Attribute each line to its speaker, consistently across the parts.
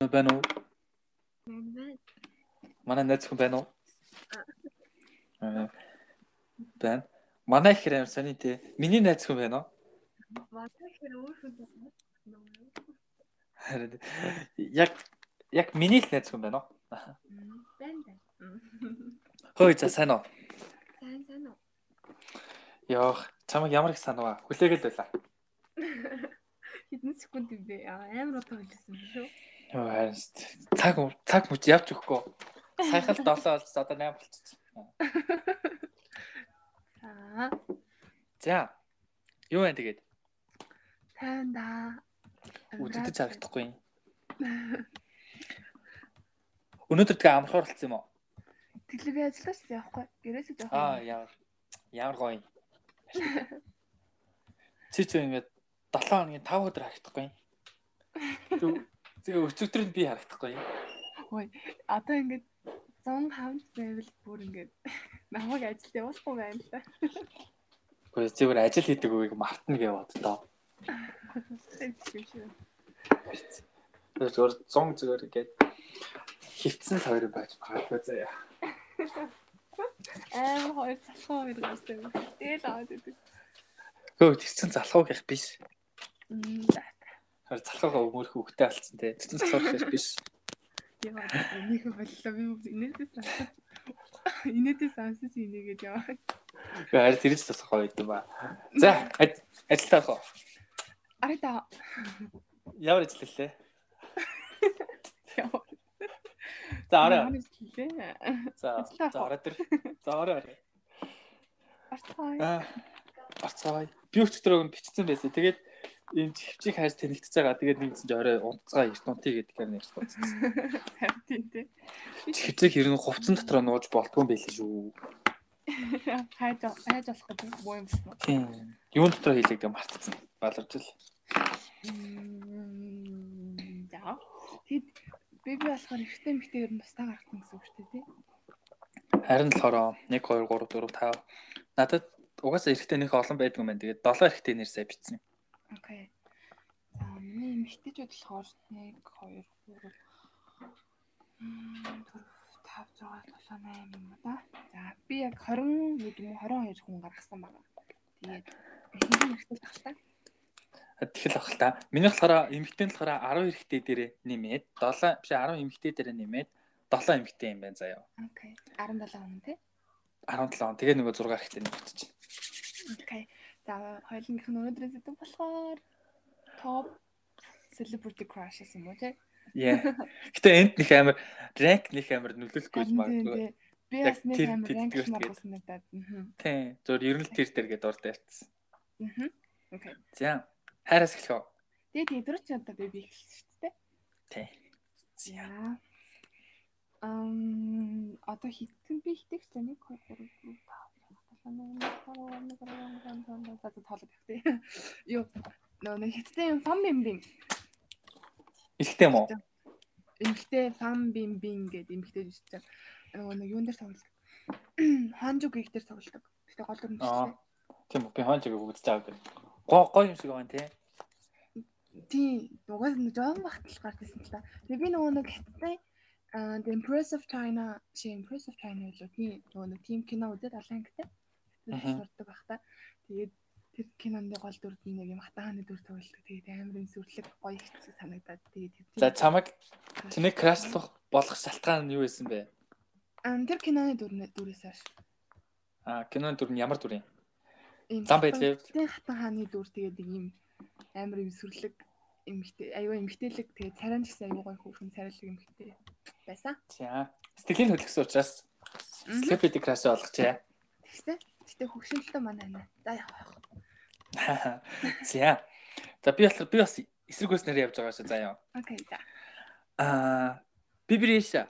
Speaker 1: зөвхөн байна уу?
Speaker 2: Байна байна.
Speaker 1: Манай найз зөвхөн байна уу? Аа. Байна. Манай их хэрэм саний те. Миний найз зөвхөн байна уу?
Speaker 2: Манай хэр өөр хүн байна.
Speaker 1: Харин яг яг миний л найз зөвхөн байна уу?
Speaker 2: Байна байна.
Speaker 1: Хөөе за сайн уу?
Speaker 2: Сайн сайн уу?
Speaker 1: Йоох, чамайг ямар их санаа ба? Хүлээгээл байла.
Speaker 2: Хэдэн секунд юм бэ? Аа, Амар удаа хэлсэн биш үү?
Speaker 1: Йоо харин ст. Цаг уу- цаг мөч явж өгөхгүй. Саяхан л 7 болж одоо 8 болчихсон.
Speaker 2: За.
Speaker 1: За. Юу байна тэгээд?
Speaker 2: Тайван да.
Speaker 1: Үзэгдэж харагдахгүй юм. Өнөөдөр тэгээ амархоор болсон юм уу?
Speaker 2: Тэглээ би ажиллаж байсан явахгүй. Гэрээсээ жоох.
Speaker 1: Аа ямар ямар гоё. юм. Чи ч ингэ 7 хоногийн 5 өдөр харагдахгүй юм. Зүг- Тэгээ өчигдөр нь би харагдахгүй юм.
Speaker 2: Одоо ингээд 105 байвал бүр ингээд намайг ажилд явуулахгүй байна л да.
Speaker 1: Гэхдээ зүгээр ажил хийдэг үеийг мартна гэж боддоо.
Speaker 2: Тэгсэн юм шиг.
Speaker 1: Зүгээр 100 зүгээр ингээд хевцэн хоёр байж магадгүй заяа.
Speaker 2: Амар хоёр залхуу хоёр гэсэн юм. Тэгэл аваад идэв.
Speaker 1: Гэхдээ тэрсэн залхуух их биш.
Speaker 2: Мм.
Speaker 1: Хоёр залхуугаа өмөрөх хөвгтэй болсон те. Тэрсэн залхуух их биш.
Speaker 2: Яа, нэг боллоо би бүгд инээдээс сонсож. Инээдээс сонсож инээгээд яваа.
Speaker 1: Гэхдээ харин тэр ч тусах гоё юм ба. За аж- ажилдаа хоо.
Speaker 2: Арай та
Speaker 1: Ямар ажил хэлээ?
Speaker 2: яваа.
Speaker 1: За орой.
Speaker 2: Ямар хэлээ?
Speaker 1: За
Speaker 2: Ажилдаа
Speaker 1: за
Speaker 2: хоо.
Speaker 1: орой дэр. За орой орой.
Speaker 2: Орцгой.
Speaker 1: Аа. Орцгой. Би өчтөр өгөн бичсэн байсан. Тэгээд энэ хөвчийг хайж тэнэгтэж байгаа. Тэгээд нэгсэн чинь орой унтцгаа эртнутий гэдэг юм ярьж байна.
Speaker 2: Харин тийм тий.
Speaker 1: Хөвчийг хэрнээ хувцсан дотор нууж болтгүй юм байлээ шүү.
Speaker 2: Хайж хайж болох гэж боо юм байна.
Speaker 1: Тийм. Юун дотор хийлэгдэг мартцсан. Баларч л.
Speaker 2: Мм, За. Тэгэд би би болохоор эхтэй мэгтэй ер нь бас та гарсан гэсэн үг шүү дээ тий.
Speaker 1: Харин л хороо 1 2 3 4 5. Надад угаасаа эрэхтэй нөх олон байдаг юм байна. Тэгээд 7 эрэхтэй нэрсээ бичсэн.
Speaker 2: Окей. За, миний эмэгтэйч болохоор 1 2 3 5 6 7 8 юм да. За, би яг 21 юм уу 22 хүн гаргасан байна. Тэгээд хэдэн эмэгтэй тахалтай?
Speaker 1: Тэгэл ахал та. Миний болохоор эмэгтэй нь болохоор 10 эрэхтэй дээрээ нэмээд 7 биш 10 эмэгтэй дээрээ нэмээд 7 эмэгтэй юм байна заяа.
Speaker 2: Окей. 17 хүн тий.
Speaker 1: 17 он. Тэгээ нөгөө 6 эрэхтэй нэмэгдэж.
Speaker 2: Окей. За, хоёулынх нь өнөөдрийн сэдв болохоор топ celebrity crushes юм уу тий?
Speaker 1: Яа. Гэтэ энд нөх амар rank нөх амар нөлөөлөхгүй л
Speaker 2: Харин тийм,
Speaker 1: магадгүй.
Speaker 2: тийм. Би
Speaker 1: Яг
Speaker 2: бас нэг
Speaker 1: тэр-
Speaker 2: амар
Speaker 1: тэр-
Speaker 2: ранг
Speaker 1: тэр-
Speaker 2: хиймар
Speaker 1: тэгээд.
Speaker 2: болсон надад. Аа.
Speaker 1: Тийм. Зөв ер нь л тэр дээр гээд урд тавьчихсан.
Speaker 2: Аа. Окей.
Speaker 1: За. Хайраас эхлэх үү?
Speaker 2: Тэгээд тэдрүү ч одоо би би эхэлсэн шүү дээ.
Speaker 1: Тийм.
Speaker 2: За.
Speaker 1: За.
Speaker 2: Ам одоо хитгэн би хитэгч за 1 2 3 4 5 6 7 8 9 10 11 12 13 14 15 16 17 18 19 20 21 22 23 24 25 26 27 28 29 30 31 32 33 34 35 36 37 38 39 40 41 42 43 44 45 46 47 48 49 50 51 52 53 54 55 56 57 58 59 60 61 62 63 64 65 66 67 68 69 70 71 72 73 74 75 76 77 78 79 80 81 82 83 84 85 86 87 88 89 90 91 92 93 94 95 96 97 98 99 100 101 102 103 104 105 106 107 108 109 110 111 112 113 114 115 116 117 118 119 120 121 122 123 124 125 126 127 128 129 130 131 132 133 134 135 136 137 138 139 140 141 142 143 144 145 146 147 148 149 150 151 152 153 154 155 156 157 158 159 160 161 162 163 164
Speaker 1: Ихтэй юм уу?
Speaker 2: эмгтэй фам бим бим гэдэг эмгтэй жүжигчэн нөгөө нэг юун дээр тоглолт. Ханжу гиг дээр тоглолт. Гэтэ гол дүр нь
Speaker 1: Аа.
Speaker 2: тийм.
Speaker 1: Тийм үү? Би хаан чигээ бүгдж байгаа гэдэг. Гоо гоо юм шиг байна тий.
Speaker 2: Тийм. Угаас нэг жоон багтл гарсан л та. Тэгээ би нөгөө нэг хэттэй аа The Empress of China, she Empress of China үлээ. Тийм. Нөгөө нэг тим кино үзээд Алангтай.
Speaker 1: Мгм.
Speaker 2: Сурдаг бах та. Тэгээд тэр киноны гол дүрд нь нэг юм хатааны дүр тоглолт. Тэгээд амар юм сүрлэг гоё хэцүү санагдаад. Тэгээд тэр-
Speaker 1: За чамайг чиний крашлах болох шалтгаан нь юу байсан бэ?
Speaker 2: Аа, тэр киноны дүр дүрээс ааш.
Speaker 1: Аа, киноны дүр нь ямар дүр юм?
Speaker 2: Ийм
Speaker 1: Зам
Speaker 2: хатан-
Speaker 1: байдлаа.
Speaker 2: Хатан хатан хааны дүр тэгээд нэг юм амар юм сүрлэг эмгтэй аюу эмгтэлэг тэгээд царай нь гэсэн аюу гоё хөвгөн царайлаг эмгтэй байсан.
Speaker 1: За. Сэтгэлийн хөдөлгөсөн учраас Celebrity Crush болгочихъя.
Speaker 2: Тэгсэн. Гэтэ хөгшинлөлтөө манай байна. За явах.
Speaker 1: За. За би болохоор би бас эсрэг хүснээр явж байгаа шээ заяа.
Speaker 2: Окей за.
Speaker 1: Аа, би бирээш.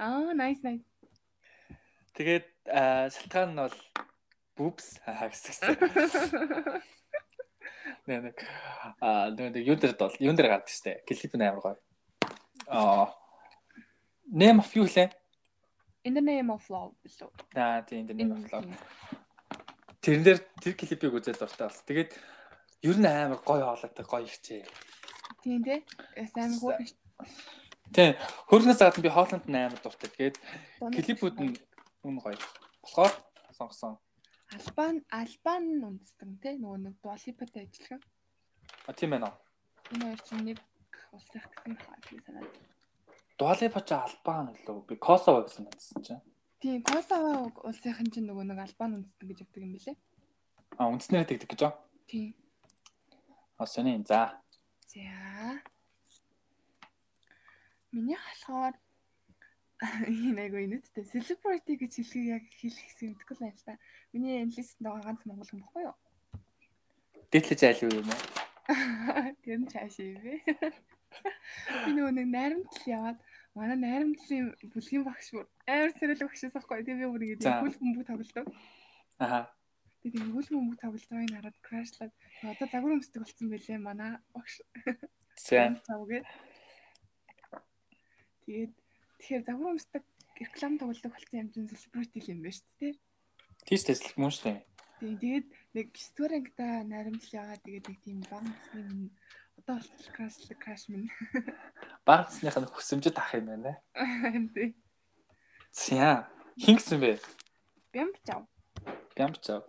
Speaker 2: Аа nice nice.
Speaker 1: Тэгээд аа, шалтгаан нь бол boobs аа гэсэн. Нэ нэг аа, нэ нэг юндэрд бол юндэр гардаг штэ. Клип нь амар гоё. Аа. Name of you лээ.
Speaker 2: In the name of love билүү.
Speaker 1: Аа, тийм энэ name
Speaker 2: Энэ
Speaker 1: of love.
Speaker 2: юм.
Speaker 1: Тэрэн дээр тэр клипийг үзээд дуртай болсон. Тэгээд ер нь амар гоё хоолойтой гоё хичээ.
Speaker 2: Тийм дээ. Сайн хөөж
Speaker 1: Тийм. Хөргнөөс гадна би Хооланд 8 дуртай. Тэгээд клипүүд нь үнэ гоё. Болохоор сонгосон.
Speaker 2: Албан албан нь үндэстэн тий нөгөө нэг дуалипатай ажиллах.
Speaker 1: А тийм байна уу?
Speaker 2: Энэ хоёр чинь нэг улсах гэсэн хаа тийм санаад.
Speaker 1: Дуалын пача албан лөө. Би Косово гэсэн байсан чинь.
Speaker 2: Тийм Косово улсынх нь чинь нөгөө нэг албан үндэстэн гэж яддаг юм билэ.
Speaker 1: А үндснээр тэгдэг гэж байна.
Speaker 2: Тийм.
Speaker 1: А сони за.
Speaker 2: За. Миний болохоор энэ айгу инэттэй celebrity гэж хэлхийг яг хэлэх гэсэн мэтгэл байна л та. Миний англистэнд байгаа ганц монгол хүн баггүй юу?
Speaker 1: Дээдлэж айл юу юм бэ?
Speaker 2: Тэр нь цааш ивэ. Би нөгөө нэг найрамдал яваад манай найрамдлын бүлгийн багш бүр амар сэрэл багшээс ахгүй тийм би бүр ингэж
Speaker 1: За.
Speaker 2: хөл бөмбөг тоглолдог.
Speaker 1: Аха.
Speaker 2: Тэгээд ингэ хөл бөмбөг тоглолтыг хараад crashlаад одоо загвар өмсдөг болсон байлээ манай багш.
Speaker 1: За.
Speaker 2: Тавгээ. Тэгээд тэгэхээр загвар өмсдөг реклам тоглолдог болсон юм чинь celebrity л юм байна шүү дээ.
Speaker 1: Тийш тэслэх мөн шүү.
Speaker 2: Тийм тэгээд нэг 9-р ангида найрамдал яваад тэгээд нэг тийм баг насны минь одоо болтол крашлаг краш минь.
Speaker 1: Багцных нь хүсэмжтэй тах юм байна.
Speaker 2: Тийм.
Speaker 1: За. Хин гэсэн бэ?
Speaker 2: Бямб чав.
Speaker 1: Бямбчав.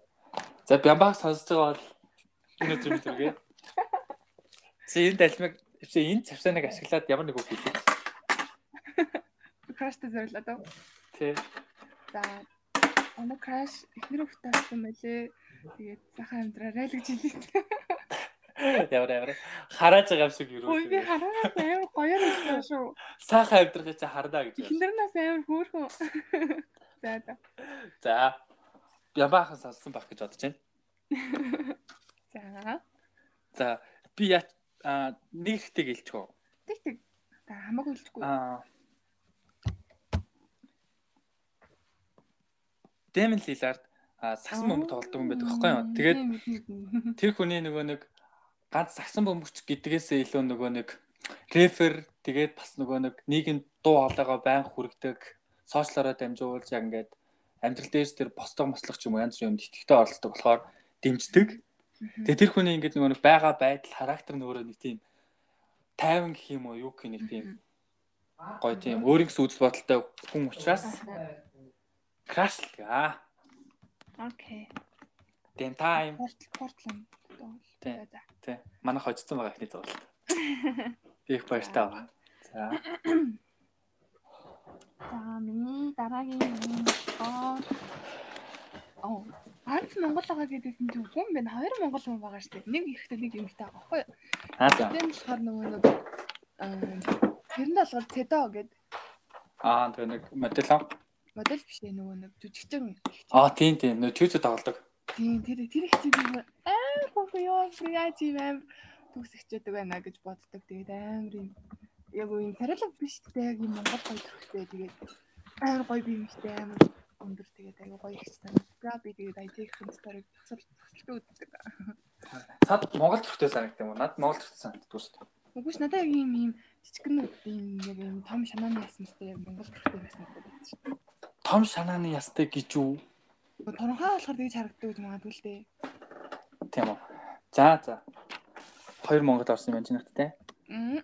Speaker 1: За бямбаг сонсож байгаа бол энэ өдөр бид үргээ. Чи энэ талмиг чи энэ цавсаныг ашиглаад ямар нэг үг хэлээ.
Speaker 2: Краштай зориулаад аа.
Speaker 1: Тэ.
Speaker 2: За. Ама краш ихнэр хөвтэй болсон байлээ. Тэгээд сайхан амьдраарай л гэж хэлээ.
Speaker 1: Ямар ямар хараад байгаа юм шиг юу
Speaker 2: Ой
Speaker 1: вэ?
Speaker 2: би хараад амар гоёор хэлсэн шүү.
Speaker 1: Сайхан амьдрахыг чи харнаа гэж. байна.
Speaker 2: Эхнэрнээс амар хөөрхөн. За за.
Speaker 1: За. Бямбаг сонссон байх гэж бодож байна.
Speaker 2: За.
Speaker 1: За би яа а, нэг ихтэй гэлчихв.
Speaker 2: Тэг тэг. За хамаагүй хэлчихгүй.
Speaker 1: Аа. Дэмэн Лилард а, сагсан бөмбөг тоглодог юм байдаг байхгүй юу? Тэгээд
Speaker 2: тэгээд
Speaker 1: тэр хүний нөгөө нэг ганц сагсан бөмбөгч гэдгээсээ илүү нөгөө нэг рефер тэгээд бас нөгөө нэг нийгэм дуу хоолойгоо байн хүргдэг сошиалороо дамжуулж яг ингээд амьдрал дээрс тэр бостог мослох ч юм уу янз бүрийн юмд итгэвтэй оролцдог болохоор дэмждэг. Тэгээд тэр хүний ингээд нөгөө нэг байгаа байдал характер нь өөрөө нэг тийм тайван гэх юм уу юу гэх нэг тийм гоё тийм өөрийн гэсэн үзэл бодолтой хүн учраас крашлдаг аа.
Speaker 2: Окей.
Speaker 1: Дэм тайм
Speaker 2: Портл портлон.
Speaker 1: Тий.
Speaker 2: За за.
Speaker 1: тий. Манайх хоцсон байгаа ихний зурлал. Би их баяртай байна. За.
Speaker 2: За миний дараагийн юм оо Оо, ганц монгол байгаа гэдэгсэн чинь хүн байна. Хоёр монгол хүн байгаа шүү дээ. Нэг ихтэй нэг эмэгтэй байгаа байхгүй юу?
Speaker 1: Аа за.
Speaker 2: Тийм болохоор нөгөө нэг аа, тэр нь болохоор цэдо гэдэг
Speaker 1: Аа тэгээ нэг модель.
Speaker 2: модель биш ээ нөгөө нэг жүжигчин ихтэй.
Speaker 1: Аа тийм тийм нөө чүүч тоглодог.
Speaker 2: Тийм тэр тэр их чинь би аа хөөе яа фриач юм аим төгсөгчдөг байна гэж боддог. Тэгээд амар юм. Яг үн царилаг биш гэдэг яг юм монгол гоё төрхтэй. Тэгээд амар гоё би юмхтэй амар өндөр тэгээд аюу гоё их санагдаа. Би тэгээд IT-ийн сторыг төсөл төсөлтөө үздэг.
Speaker 1: Цаад Монгол төвтэй санагдсан юм уу? Над Монгол төвтэй санагддаг шүү дээ.
Speaker 2: Үгүй ч надад яг юм юм жижигхэн юм яг юм том шанааны ясантай яг монгол төрхтэй байсан гэдэг байна шүү дээ.
Speaker 1: Том шанааны ястай гэж үү?
Speaker 2: Нөгөө Торонхаа болохоор тэгж харагддаг гэж магадгүй л дээ.
Speaker 1: Тийм үү. За за. Хоёр Монгол орсон юм чинь хаттай.
Speaker 2: Мм.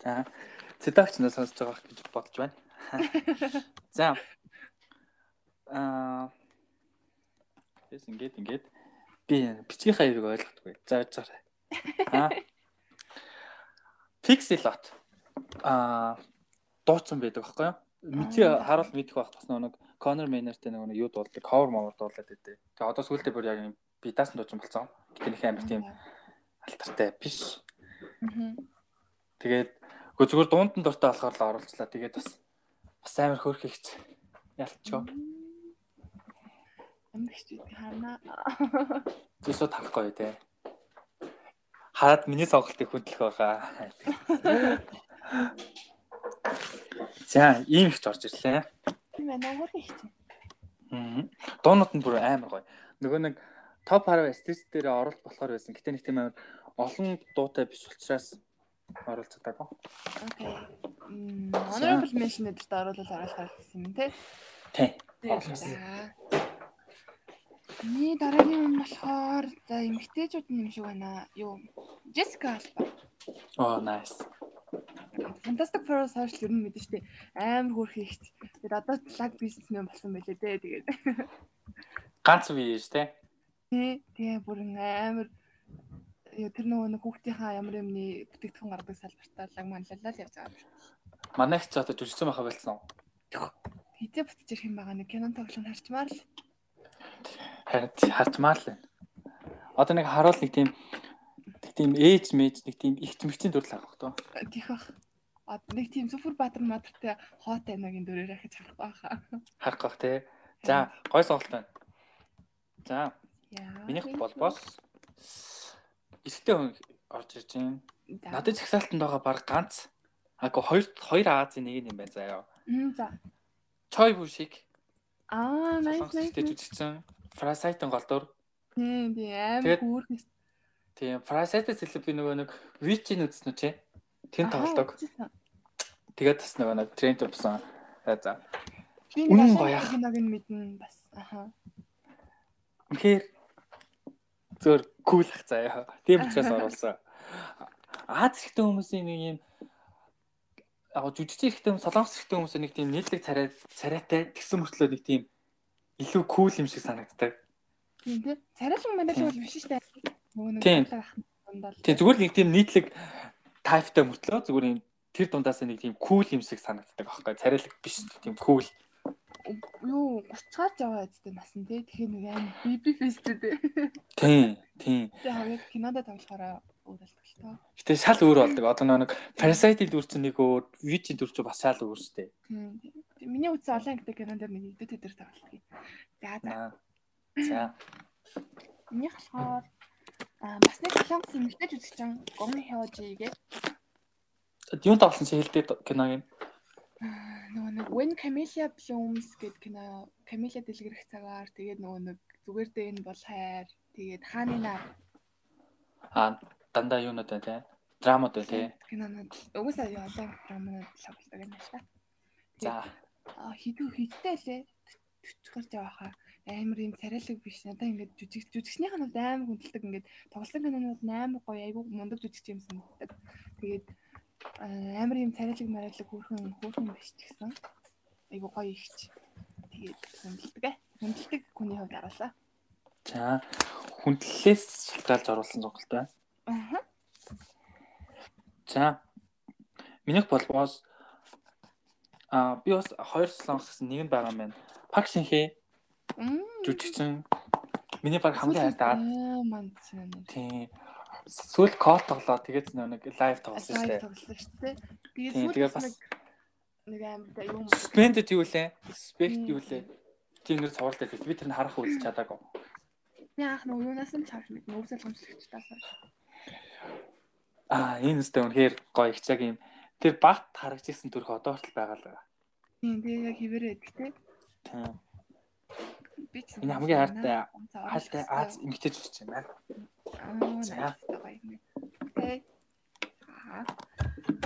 Speaker 1: За. Цэдагч надад сонсож байгаа гэж бодож байна. За. Аа. Тэс ингээд ингээд би бичгийн хаяг ойлгохгүй. За за. Аа. Pixelot. Аа дууцсан байдаг байхгүй юу? Мэдээ
Speaker 2: Аа.
Speaker 1: харуул мэдэх байх бас нөгөө нэг Connor Maynard-тэй нөгөө нэг юу дуулдаг, cover mover дуулдаг гэдэг. Тэгээ одоо сүүлдээ бүр яг юм би даасан дуучин болсон. Гэтэ нөх амир тийм алтартай биш.
Speaker 2: Мгм.
Speaker 1: Тэгээд үгүй зүгээр дунд нь дуртай болохоор л оруулчлаа. Тэгээд бас бас амар хөөрх ихч ялчгаа.
Speaker 2: Амдагчд харна.
Speaker 1: Тэсөө тавахгүй тий. Хараад миний сонголтыг хөдлөх байгаа. За, ийм ихч орж ирлээ.
Speaker 2: Тийм байна уу гэх чинь.
Speaker 1: Мгм. Дуунууд нь бүр амар гоё. Нөгөө нэг топ 10 стейж дээр оролт болохоор байсан. Гэтэ нэг тийм амар олон дуутай биш учраас оролцдог.
Speaker 2: Окей. Мм, Honorable mention дээр оруулаад оруулахар гэсэн юм тий.
Speaker 1: Тий.
Speaker 2: За. Миний дараагийн юм болохоор за эмгтээчүүд нэм шиг байна. Юу? Jessica Alba.
Speaker 1: Оо, nice.
Speaker 2: Fantastic Four сошиал ер нь мэдэн штэ амар хөөрхөн ихт. Тэгээд одоо лаг бизнесмен болсон байлээ те тэгээд.
Speaker 1: Ганц үе шүү дээ.
Speaker 2: Тий, тий бүр ин амар ёо, тэр нөгөө нэг хүүхдийнхаа ямар юмны бүтээгдэхүүн гаргадаг салбартаа лаг манлалаа л явж байгаа юм.
Speaker 1: Манайх ч одоо жүжигсэн байха болсон.
Speaker 2: Хизээ бутж ирэх юм байгаа нэг кинон тоглоом харчмаар л.
Speaker 1: Харин ч харчмаар л байна. Одоо нэг харуул нэг тийм нэг тийм ээж мэж нэг тийм их чимэгчийн дүрл авах тоо.
Speaker 2: Тих бах. А нэг тийм супер баатар мадартай хоот анагийн дөрөөр ахиж харахгүй байхаа.
Speaker 1: Харах гох те. За гой сонголт байна. За
Speaker 2: Яа.
Speaker 1: минийх болбоос эрттэй хүн орж ирж байна.
Speaker 2: Надад
Speaker 1: Надад захисаалтанд байгаа баг ганц агай хоёр хоёр Азийн нэг нь юм байна заяа.
Speaker 2: за.
Speaker 1: Choi Bushik
Speaker 2: Аа, nice
Speaker 1: солонгос
Speaker 2: nice.
Speaker 1: хэвтэй жүжигчин. Parasite-ын голдор.
Speaker 2: Тийм, тийм амар
Speaker 1: Тэгээд-
Speaker 2: хөөрхөн.
Speaker 1: Тийм Parasite-с илүү би нөгөө нэг Witch-ийг үзсэн үү чи? Тэн тоглодог. Тэгээд бас нөгөө нэг Trent болсон. За за.
Speaker 2: Би
Speaker 1: Үнэн
Speaker 2: нэг
Speaker 1: баяах.
Speaker 2: ашиг киног нь мэднэ бас. Аха.
Speaker 1: Үнэхээр зөөр кул ах заяа. Тийм учраас оруулсан. Аз хэрэгтэй хүмүүсийн нэг юм яг жүжигч хэрэгтэй хүмүүс, солонгос хэрэгтэй хүмүүсийн нэг тийм нийтлэг царай царайтай тэгсэн мөртлөө нэг тийм илүү кул юм шиг санагддаг.
Speaker 2: Тийм тийм. Царайлан манайх
Speaker 1: Тийм.
Speaker 2: бол биш штэ. Нөгөө нэг
Speaker 1: Тийм.
Speaker 2: талаар ахна дундал.
Speaker 1: Тийм зүгээр л нэг тийм нийтлэг тайптай мөртлөө зүгээр юм тэр дундаас нэг тийм кул юм шиг санагддаг аахгүй царайлаг биш тийм кул.
Speaker 2: Юу, 30-аар яваа үсттэй насан тий. Тэгэхээр нэг амар биби фесттэй тий.
Speaker 1: Тийм, тийм.
Speaker 2: Тэгээ хавьд кинодо тоглохоороо өөрөлтгөлтөө.
Speaker 1: Гэтэ шал өөр болдог. Одоо нөгөө нэг Parasite-ийн дүр чинь нэг өөр, Witch-ийн дүр чинь бас шал өөр шүү дээ.
Speaker 2: Тийм. Миний үзсэн олон ангитай кинон дээр нэг идэт дээр тоглолтгий. За за.
Speaker 1: Аа. За.
Speaker 2: Миний болохоор аа бас нэг солонгос эмэгтэй жүжигчин Гомн Хёжигээ
Speaker 1: Юунт авсан чи хэлдэг кино юм.
Speaker 2: Аа, нөгөө нэг When Camellia Blooms гэдэг кино Camellia дэлгэрэх цагаар тэгээд нөгөө нэг зүгээр дээр энэ бол хайр тэгээд хааны нар
Speaker 1: Аа дандаа юунод байна те. Драмууд байна те.
Speaker 2: кинонууд угсаа юу олон драмууд тоглодог юм байна.
Speaker 1: За.
Speaker 2: Аа хідүү хидтэй лээ 40 гарч яваахаа амар юм царайлаг биш надаа ингээд жүжиг жүжигчнийх нь бол амар хүндэлдэг ингээд тоглосон кинонууд нь амар гоё айгүй мундаг жүжигч юм санагддаг. Тэгээд аа, амар юм царайлаг марайлаг хөөрхөн хөөрхөн биш ч гэсэн айгүй гоё ихч. Тэгээд хүндэлдэг ээ. Хүндэлдэг хүний хувьд аруулаа.
Speaker 1: За. Хүндлэлээс шалтгаалж оруулсан сонголт байна.
Speaker 2: Аа.
Speaker 1: За. Минийх болвоос аа би бас хоёр солонгос гэсэн нэг нь байгаа юм байна. Пак Шинхэ жүжигчин. Миний баг хамгийн хайртай.
Speaker 2: маань чинь
Speaker 1: Тийм. Сүүл кол тоглоо. Тэгээд зөв нэг лайв тоглосон шүү
Speaker 2: лайв
Speaker 1: дээ.
Speaker 2: тоглосон шүү дээ. Тэгээд
Speaker 1: Тийм,
Speaker 2: сүүлд
Speaker 1: тэгээд
Speaker 2: бас
Speaker 1: бас-
Speaker 2: нэг нэг амар юм
Speaker 1: Suspended юу лээ? Suspect
Speaker 2: Мм.
Speaker 1: юу лээ? Тийм нэр цуврал дээр би тэр нь харах үйлс чадаагүй.
Speaker 2: яах нь юунаас нь чавж мэд нөөс залгамжлагч таас.
Speaker 1: Аа энэ үстэй үнэхээр гоё их цаг юм. Тэр багт харагч ирсэн төрх одоо хүртэл байгаа л.
Speaker 2: Тийм тэгээ яг хിവэрээ гэдэгтэй.
Speaker 1: Тийм.
Speaker 2: Би ч
Speaker 1: Энэ хамгийн хайртай хайртай
Speaker 2: хайртай
Speaker 1: Аз эмэгтэй жүжигч юм байна. За.
Speaker 2: Аа. Окей. Аа.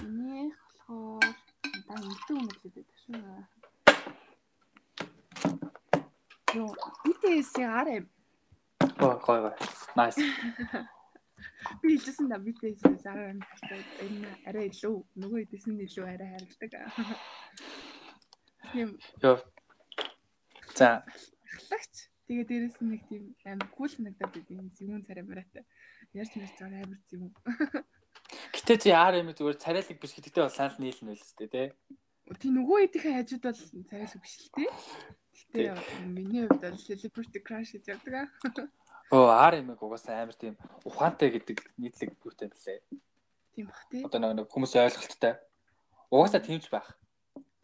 Speaker 2: Миний болохоор одоо илүү өнөглөд байдаг шүү. Йоо, BTS-ийн RM.
Speaker 1: Гоё гоё гоё. Nice.
Speaker 2: Би хэлжсэн да BTS-ийн RM хайртай. Энэ арай илүү нөгөө хэдээс нь илүү арай хайрладаг. Тийм
Speaker 1: Йоо. За,
Speaker 2: ахлагч. Тэгээ дээрээс нь нэг тийм амар кул санагдаад байд юм зүүн царай мөрөөтэй. Ярьж мэрч байгаа амар зүүн.
Speaker 1: гэтээ чи RM зүгээр царайлаг биш гэдэгтэй бол санал нийлнэ л зү тээ.
Speaker 2: Тийм нөгөө эдийн хажууд бол царайлаг биш л тий.
Speaker 1: Тий.
Speaker 2: Гэтэ миний хувьд бол celebrity crush гэж яддаг аа.
Speaker 1: Өө RM-ыг угаасаа амар тийм ухаантай гэдэг нийтлэг үүтэй билээ.
Speaker 2: Тийм бах тий.
Speaker 1: Одоо нэг- нэг хүмүүс ойлголттой. Угаасаа тэмж байх.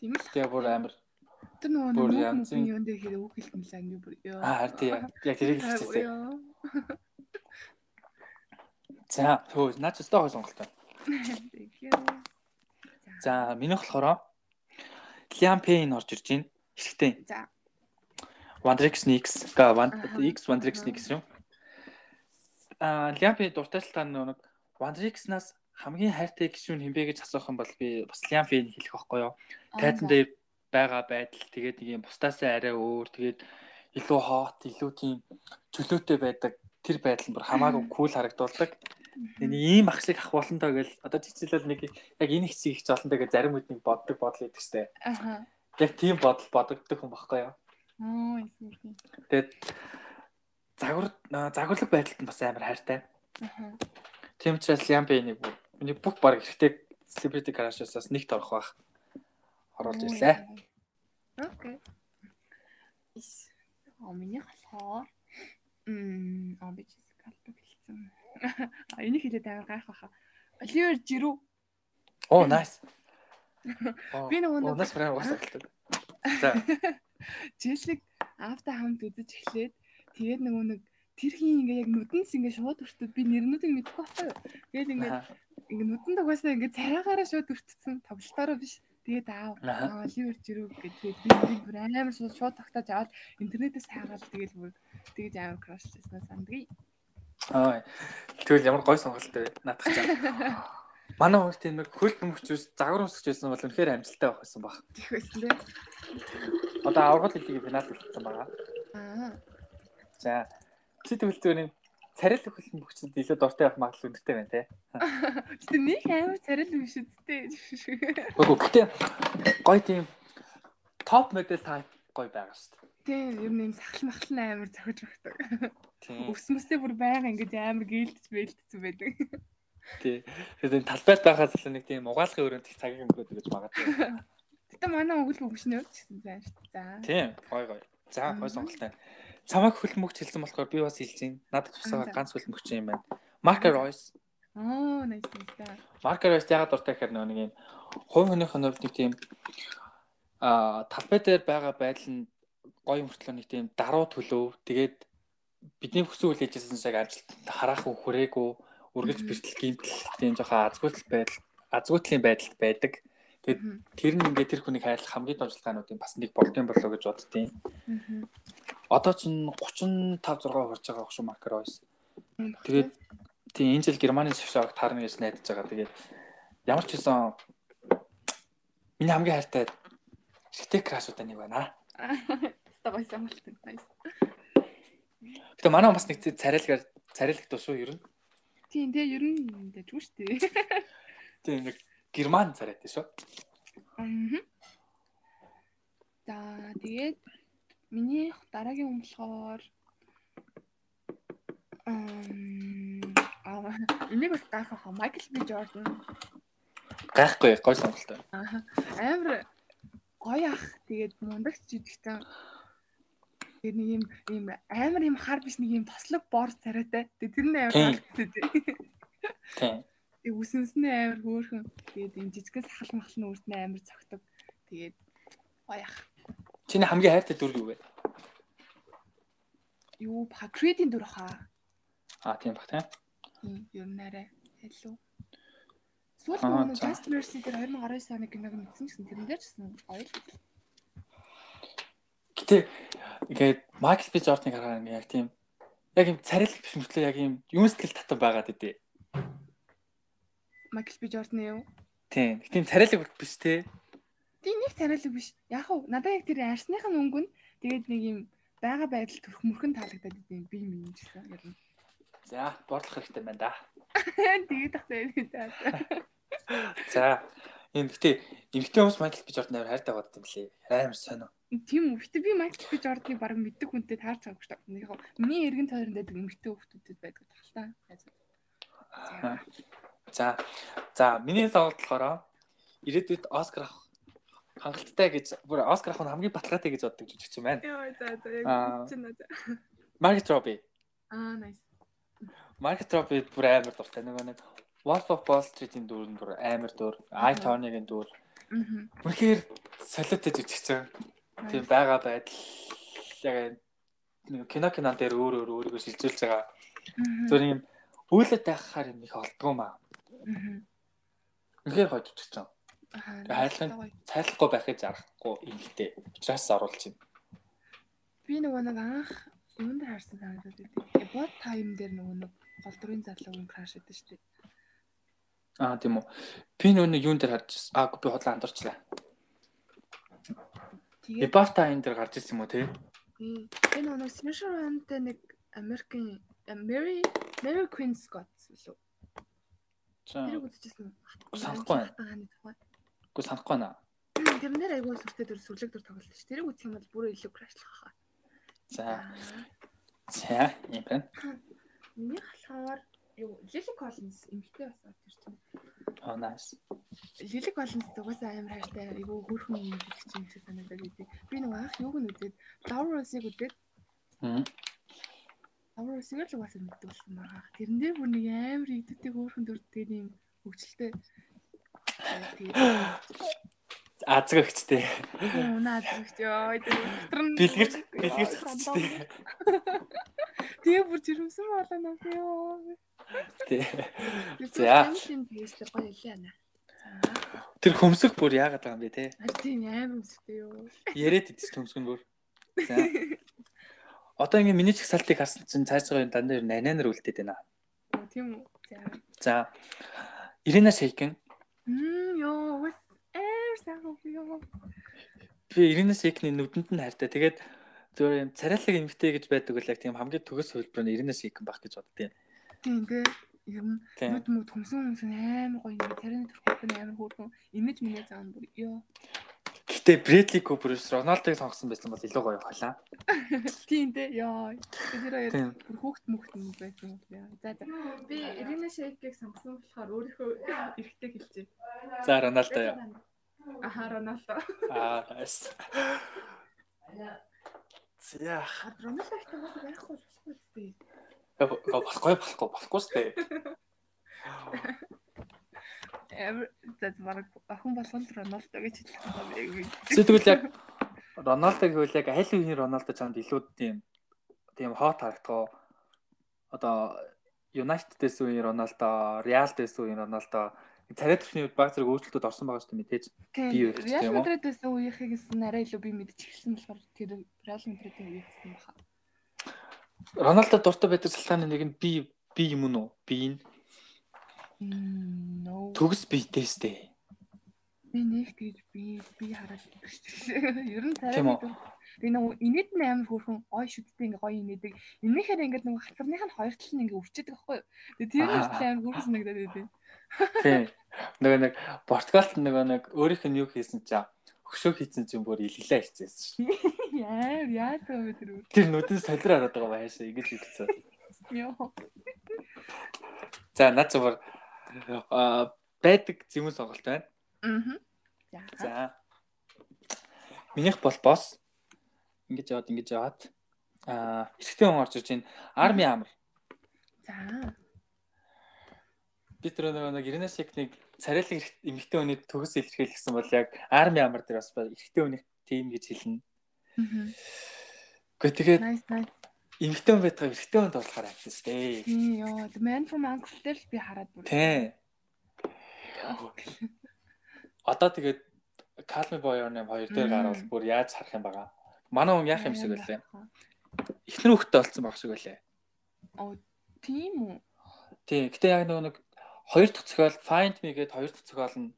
Speaker 2: Тийм л.
Speaker 1: Тэгээ бүр амар
Speaker 2: Тэр нөгөө
Speaker 1: Бүр
Speaker 2: нөгөө
Speaker 1: янз
Speaker 2: хүмүүс юм дээр хэрэг үг хэлмэлээ ангиу бүр ёо.
Speaker 1: аа харин тийм. яг тэрийг
Speaker 2: Аа,
Speaker 1: хэлчихсэн.
Speaker 2: ёо.
Speaker 1: За, хөө наач өстой хой сонголт байна.
Speaker 2: Thank you.
Speaker 1: За, минийх болохоор Liam Payne орж ирж байна. Эхтэй.
Speaker 2: За.
Speaker 1: One Direction X, га One
Speaker 2: Аха.
Speaker 1: X One Direction X юм. Аа, Liam Payne дуртай л тань нэг One Direction-аас хамгийн хайртай гишүүн хэмбэ гэж асуух юм бол би бас Liam Payne хэлэх байхгүй юу? Тайзан дээр байгаа байдал тэгээд нэг юм бусдаасаа арай өөр тэгээд илүү хоот, илүү тийм чөлөөтэй байдаг тэр байдал нь бүр хамаагүй кул харагдуулдаг. Эний ийм ахшлыг авах болонтой гэж одоо жижиглэл нэг яг энэ хэсгийг их золонтой гэж зарим хүнийг боддог бодол идэв штэ.
Speaker 2: Аха.
Speaker 1: Яг тийм бодол бодогддог хүн баггүй юу?
Speaker 2: Оо, эсвэл.
Speaker 1: Тэгээд загвар аа, загварлаг байдалд нь бас амар хайртай.
Speaker 2: Аха.
Speaker 1: Тийм учраас Ямбэний бүх миний бүх баг хэрэгтэй Celebrity Crush-аас нэгт орох байх. Оруулж ирлээ.
Speaker 2: Окей. Ис. А миний болохоор м амбич скалдаг хэлсэн. А энийг хэлээд амар гайх баха. Оливер Жиру.
Speaker 1: Оо, nice.
Speaker 2: Би нөгөө нэг-
Speaker 1: унаас мөрөө угаасаа. За.
Speaker 2: Челсиг авта хамт үзэж эхлээд тэгээд нөгөө нэг тэр хин ингээ яг нүдэнс ингээ шууд өртөд би нэрнүүдийг мэдэхгүй байна. Тэгээд ингээ
Speaker 1: Аха. Аха.
Speaker 2: Аа, Оливер Жирүү гэдэг. Тэгээд би бүр амар шууд шууд тогтоож аваад интернетээс хайгаад тэгээд бүр тэгж амар крашлжсэн сандгий.
Speaker 1: Аа. Тэгвэл ямар гой сонголт вэ? Наадах чам. Манай хүн тийм нэг хөл бөмбөгчөөс загвар өмсөж байсан бол үнэхээр амжилттай байх байсан баг.
Speaker 2: Тих байсан лээ.
Speaker 1: Одоо аврал хэлийг финал болсон байгаа.
Speaker 2: Аа.
Speaker 1: За. Чи тэгвэл зүгээр юм царил хөл бөмбөгчөд илүү дуртай байх магадлал өндөртэй байна те.
Speaker 2: Гэтэ нэг амар царил юм шүү дээ.
Speaker 1: Үгүй гэхдээ гой тийм топ модель таа гой байгаа шүү дээ.
Speaker 2: Тийм ер нь юм сахал махал нь амар зохиж өгдөг.
Speaker 1: Тийм.
Speaker 2: Өвс мөстэй бүр байга ингэж амар гээлдэж бэлдсэн байдаг.
Speaker 1: Тий. Тэгээд энэ талбайд байхаас л нэг тийм угаалгын өрөөнд их цагийг өнгөрөөдөг гэж магадгүй.
Speaker 2: Гэтэ манай өгөл бүгшнөө ч гэсэн зэн шүү дээ.
Speaker 1: Тийм. Гой гой. За,
Speaker 2: Мгм.
Speaker 1: гой сонголтой. Цамаг хөлмөгч хэлсэн болохоор би бас хэлж байна. Надад тусаа
Speaker 2: Аа, за.
Speaker 1: ганц хөлмөгч юм байна. Маркер Ройс.
Speaker 2: За. Оо, nice nice.
Speaker 1: Маркер Ройс ягаад дуртай гэхээр нөгөө нэг юм хувь хүнийхэн хувьд нэг тийм аа талбай дээр байгаа байдал нь гой мөртлөө нэг тийм даруй төлөв. Тэгээд бидний хүсэл хүлээжсэн шиг амжилтанд хараахан хүрээгүй үргэлж
Speaker 2: Мгм.
Speaker 1: бэртэл гимтэл тийм жоохон азгүйтэл байдал азгүйтлийн байдалд байдаг. Тэгэд-
Speaker 2: Мгм.
Speaker 1: тэр нь ингээд тэр хүнийг хайрлах хамгийн том шалтгаануудын бас нэг болдгийн болоо гэж боддtiin.
Speaker 2: Мгм.
Speaker 1: Одоо ч нь 35 6 хурж байгаа хөш маркер ойс.
Speaker 2: Мгм.
Speaker 1: Тэгээд тийм энэ жил Германы шавшааг таарна гэж найдаж байгаа. Тэгээд ямар ч хэсэн миний хамгийн хайртай шигтэй крашуудаа нэг байна.
Speaker 2: Аа, та гоё сонголт. Nice.
Speaker 1: Гэтэ манай хүн бас нэг зэ- царайлгаар царайлах тушуу ер нь.
Speaker 2: Тийм тийм ер нь дэжгүй шүү дээ.
Speaker 1: Тийм нэг Герман царайтай шүү.
Speaker 2: Мгм. За тэгээд миний дараагийн хүн болохоор ам аа энийг бас гайхах хаа Майкл Би Джордан
Speaker 1: Гайхгүй гой сонголтой.
Speaker 2: Аа, амар гоё ах тэгээд мундагч жижигтэн тэгээд нэг юм юм амар юм хар биш нэг юм тослог бор царайтай тэгээд тэр нь амар
Speaker 1: Тийм.
Speaker 2: таалагддаг тийм
Speaker 1: Тийм.
Speaker 2: Тэг үсэнснээ амар хөөрхөн. Тэгээд энэ жижигэн сахал махал нь үрднээ амар цогтөг. Тэгээд баях.
Speaker 1: Чиний хамгийн хайртай дүр юу вэ?
Speaker 2: Юу пакредийн дүр хаа.
Speaker 1: Аа тийм баг тийм.
Speaker 2: Тийм ер нь арай хэлүү. Сүүл
Speaker 1: Аа,
Speaker 2: нэг
Speaker 1: за.
Speaker 2: Just Mercy дээр 2019 оны киног мэдсэн гэсэн тэрэн дээр ч гэсэн ойл.
Speaker 1: Гэтэ ингээд Майкл Би Джорданыг харахаар ингээд яг тийм яг юм царилэг биш мөртлөө яг юм юм сэтгэл татан байгаад өгдөө.
Speaker 2: Michael B. Jordan юу?
Speaker 1: Тийм. Гэтэм царилэг бол биш те.
Speaker 2: Тийм нэг царайлаг биш. Яг уу надад яг тэр арсных нь өнгө нь тэгээд нэг юм бага байдал төрх мөрхөн таалагдаад идэв би минь гэсэн ер нь.
Speaker 1: За, бодлох хэрэгтэй байна да.
Speaker 2: Тэгээд тахтай байсан.
Speaker 1: За. Энэ гэтэ эмгтэй хүмүүс Майкл Би Джордан аваар хайртай болд юм лээ. Амар сонио.
Speaker 2: Тийм үү. Гэтэ би Майкл Би Джорданыг баг мэддэг хүнтэй таарч байгаа шүү дээ. Яг гоо, миний эргэн тойронд байдаг эмэгтэй хүмүүсд байдаг тал та.
Speaker 1: Аа. За. За, миний савд болохоор ирээдүйд Оскар авах хангалттай гэж бүр Оскар авах нь хамгийн баталгаатай гэж боддог жүжигч юм байна.
Speaker 2: Яа за за
Speaker 1: яг Аа.
Speaker 2: чинь надаа.
Speaker 1: Margaret Robbie.
Speaker 2: Аа nice.
Speaker 1: Margaret Robbie бүр амар дуртай нөгөө нэг Wolf of Wall Street-ийн дүр нь бүр амар дүр. Eye Turner-ийн дүр.
Speaker 2: Мгм.
Speaker 1: Үнэхээр солиотой жүжигч юм. тийм
Speaker 2: Nice.
Speaker 1: байгаа байдал яг нэг кино кинон дээр өөр өөр өөрийгөө шилжүүлж байгаа.
Speaker 2: Мгм.
Speaker 1: Зөв юм үйлдэл тайхахаар юм их олдгоо маа.
Speaker 2: Мгм.
Speaker 1: Үнэхээр хойд утчих юм.
Speaker 2: Аа.
Speaker 1: Тэгээ хайлтгын-
Speaker 2: nice.
Speaker 1: Цайлахгүй байхыг зарахгүй ингэтэй. Учираас оруулж байна.
Speaker 2: Би нөгөө нэг анх юунд харсан санагдаад байдаг. Бод тайм дээр нөгөө нэг гол дүрийн залуугийн краш гэдэг шүү дээ.
Speaker 1: Аа тийм үү. Би нөөний юун дээр харж ирсэн. Аа би хотлоо андарчлаа.
Speaker 2: Тэгээд
Speaker 1: Эбарта энэ дээр гарч ирсэн юм уу те?
Speaker 2: би би нөгөө э, нэг Smash Run-тэй нэг American Mary Mary Queen Scott лөө
Speaker 1: Чи
Speaker 2: Тэрийг үзчихсэн үү?
Speaker 1: санахгүй байна.
Speaker 2: Багааны тухай.
Speaker 1: Үгүй санахгүй байна.
Speaker 2: Тэр нэр айгүй сүртэй төр сүрлэг төр тоглолт ш. Тэрийг үзэх юм бол бүр илүү крашлах хаа.
Speaker 1: За. За юм байна.
Speaker 2: Миний халахаар юу Лили Коллинс эмгтэй бас авч ирсэн.
Speaker 1: Oh nice.
Speaker 2: Лили Коллинс угаасаа амар хайртай айгүй хөөрхөн юм гэж чинь шиг санагдаад байдаг. Би нэг анх юуг нь үзээд Laura-ыг үзээд
Speaker 1: Мм.
Speaker 2: Laura-ыг л угаасаа мэддэг болсон маа. Тэрэн дээр бүр нэг амар идэгтэй хөөрхөн дүртэй юм хөвчлөлтэй. Тэгээд
Speaker 1: Азаг өгчтэй.
Speaker 2: унаа зүгч ёо.
Speaker 1: Бэлгэрч бэлгэрч өгчтэй.
Speaker 2: Тэгээ бүр жирэмсэн болоо нас ёо.
Speaker 1: Тий. За.
Speaker 2: За. Тийм пейстер гоё хэлээ ана. За.
Speaker 1: Тэр хөмсөх бүр яагаад байгаа юм бэ те?
Speaker 2: Ари тийм аим үстэй ёо.
Speaker 1: Яриад идэж төмсгөн бүр. За. Одоо ингээ миний чагсалтыг харсан чинь цаашгаа юм дандаа ер нь ананаар үлдээд байна.
Speaker 2: Оо, Тийм үү.
Speaker 1: За.
Speaker 2: За.
Speaker 1: Ирина Шейкин.
Speaker 2: Мм ёо. Уус аим сайхан уу ёо.
Speaker 1: Би Ирина Шейкний нүдэнд нь хайртай. Тэгээд зөвөр юм царайлаг эмгтэй гэж байдаг үл яг тийм хамгийн төгс хөлбөр нь Ирина Шейкин баг гэж боддیں۔
Speaker 2: Тийм дээ. Ер нь
Speaker 1: Тийм.
Speaker 2: нүд мөд хүмсэн хүмсэн аим гоё юм. Царины төрхөд нь аим хөөрхөн. Имиж минь заан бүр ёо.
Speaker 1: Гэтэ Брэдли Куперс Роналдыг сонгосон байсан бол илүү гоё халаа.
Speaker 2: Тийм дээ ёо. Тэр хоёр
Speaker 1: Тийм.
Speaker 2: бүр хөөхт мөхт юм байсан бол яа. За за.
Speaker 3: Би Ирина Шейкийг сонгосон болохоор өөрийнхөө эргэтэй хэлчихэ.
Speaker 1: За Роналдо яа.
Speaker 3: Аха Роналдо.
Speaker 1: Аа. nice. За.
Speaker 2: Роналдо их томоос байхгүй болохгүй дээ.
Speaker 1: болохгүй болохгүй болохгүй сте.
Speaker 2: Амар за за, баг охин болгонд Роналдо гэж хэлэх юм яг үгүй.
Speaker 1: Тэгвэл яг Роналдо гэвэл яг аль үеийн Роналдо чамд илүү тийм тийм хот харагдгаа. Одоо Юнайтедээс үеийн Роналдо, Реалдээс үеийн Роналдо царай төрхний үед баг зэрэг өөрчлөлтүүд орсон байгаа шүү дээ мэдээж. би
Speaker 2: Тийм.
Speaker 1: үргэлж
Speaker 2: Реал
Speaker 1: тийм үү?
Speaker 2: Мадрид байсан үеийнхийг гэсэн арай илүү би мэдчихсэн болохоор тэр Реал Мадридын үеийг гэсэн баха.
Speaker 1: Роналдо дуртай байдаг салтааны нэг нь би би юм уу? Би энэ
Speaker 2: Мм, No.
Speaker 1: төгс битэй сте.
Speaker 2: Би нэг гэж би би хараад ирчихсэн. Ер нь царай
Speaker 1: Тийм үү?
Speaker 2: мэдвэр. Би нэг инээд нь амар хөөрхөн ой шүдтэй ингээ гоё инээдэг. Инээхээр ингээд нэг хацарных нь хоёр тал нь ингээ өвчтэй байхгүй юу? Тэгээ тэр нь
Speaker 1: Аа.
Speaker 2: ихтэй амар хөөрхөн санагдаад байдیں۔
Speaker 1: Тийм. Нөгөө нэг Португалд нөгөө нэг өөрийнх нь юу хийсэн чаа хөшөө хийсэн чинь бүр илглээ хийсэн шүү.
Speaker 2: Яа, яа тав тэр үү?
Speaker 1: Тэр нүдэн солир хараад байгаа байшаа ингэж хэлсэн.
Speaker 2: Йоо.
Speaker 1: За над зүгээр аа байдаг зэмүүн сонголт байна.
Speaker 2: Аа.
Speaker 1: За.
Speaker 2: За.
Speaker 1: Минийх бол босс. Ингэж яваад ингэж яваад аа эрэгтэй хүн орж ирж байна. Арми амар.
Speaker 2: За.
Speaker 1: Би тэр нөгөө нэг Иринас Экник царайлаг эрэгт- эмэгтэй хүний төгс илэрхийлсэн бол яг арми амар дээр бас ба- эрэгтэй хүний тим гэж хэлнэ.
Speaker 2: Мгм.
Speaker 1: Гэхдээ тэгээд
Speaker 2: Nice, nice.
Speaker 1: эмэгтэй хүн байдгаа эрэгтэй хүнд болохоор хайсан шүү дээ.
Speaker 2: Тийм ёо. The Man from Uncle дээр л би хараад бүр.
Speaker 1: Тий. Одоо тэгээд Calm Boy Your Name хоёр дээр
Speaker 2: Мм.
Speaker 1: гарвал бүр яаж харах юм бага. Манай хүн яах юм шиг үлээ. Эхнэр хөхтэй олцсон баг шиг үлээ.
Speaker 2: Тийм үү?
Speaker 1: Тий. Гэтэ яг нөгөө нэг хоёр дахь цохиол Find Me гээд хоёр дахь цохиол нь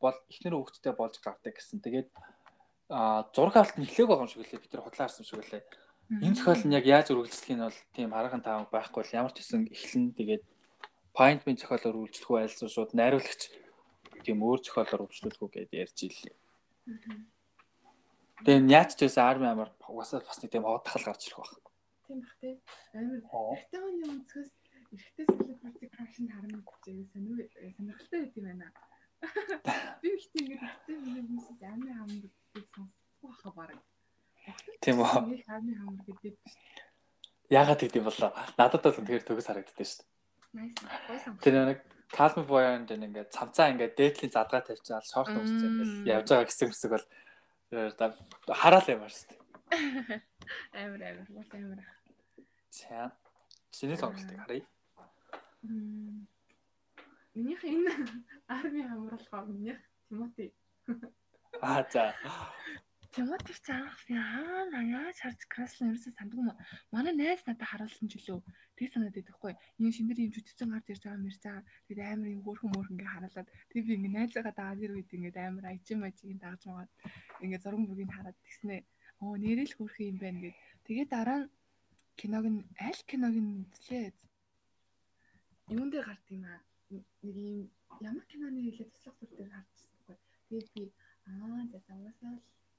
Speaker 1: бол эхнэр хөхтэй болж гардаг гэсэн. Тэгээд а зураг авалт нь эхлэх байгаа юм шиг үлээ. Бид тэр худлаа харсан шиг үлээ. Энэ цохиол нь яг яаж үргэлжлэх нь бол тийм хараахан таамаг байхгүй л ямар ч хэсэн эхлэн тэгээд Find Me цохиолоор үргэлжлэх үү альсан шууд найруулагч тийм өөр цохиолоор үргэлжлүүлэх үү гэдээ ярьж ийлээ. Тэгээ няач ч байсан арми амар угаасаа бас нэг тийм одхал гарч ирэх байх.
Speaker 3: Тийм бах тий. Амар
Speaker 1: Оо.
Speaker 3: эргэтэй хүний өнцгөөс эргэтэй celebrity crush нь харна гэж сонир сонирхолтой байт юм байна. Би ихтэй ингээд эргэтэй хүний хүмүүсээс амар хамт би сонсох байха бараг.
Speaker 1: Тийм үү?
Speaker 3: Би хамт хамт гэдэг биш.
Speaker 1: Яагаад гэдэг юм бол надад бол тэгэхээр төгс харагддаг шүү дээ.
Speaker 3: Nice. Гойсон.
Speaker 1: Тэр нэг Calm Boy-нд ингээ цавцаа ингээ дээдлийн задгаа тавьчихсан шорт өгсөн юм
Speaker 2: Мм.
Speaker 1: байна. Явж байгаа хэсэг хэсэг бол э, да- хараал юм байна шүү дээ.
Speaker 3: Амар амар. Гойсон амар.
Speaker 1: За. Чиний сонголтыг харъя.
Speaker 3: Мм. Минийх энэ арми хамруулахаар минийх Тимоти.
Speaker 1: Аа за.
Speaker 2: Тимотик ч анх би аа яаж харж краслын ерөөсөө санддаг юм. уу? Манай найз надад харуулсан ч лөө тэг санаад байхгүй. Ийм шинээр юм жүжигчэн гарч ирж байгаа мэрж байгаа. Тэгээд амар юм хөөрхөн мөрхөн ингээ хараалаад тэг би ингээ найзаагаа дагаад ир үед ингээ амар ажим ажиг дагж байгаа. Ингээ зургийн бүгийг хараад тэгснэ. Оо нэрэл хөөрхөн юм байна гэд. Тэгээд дараа нь киног нь аль киног нь үзлээ.
Speaker 3: Юунд дээр гардаг юм аа? нэг юм ямар киноны нэлээ туслах төр дээр харчихсан байхгүй. Тэгээд би аа за за угаасаа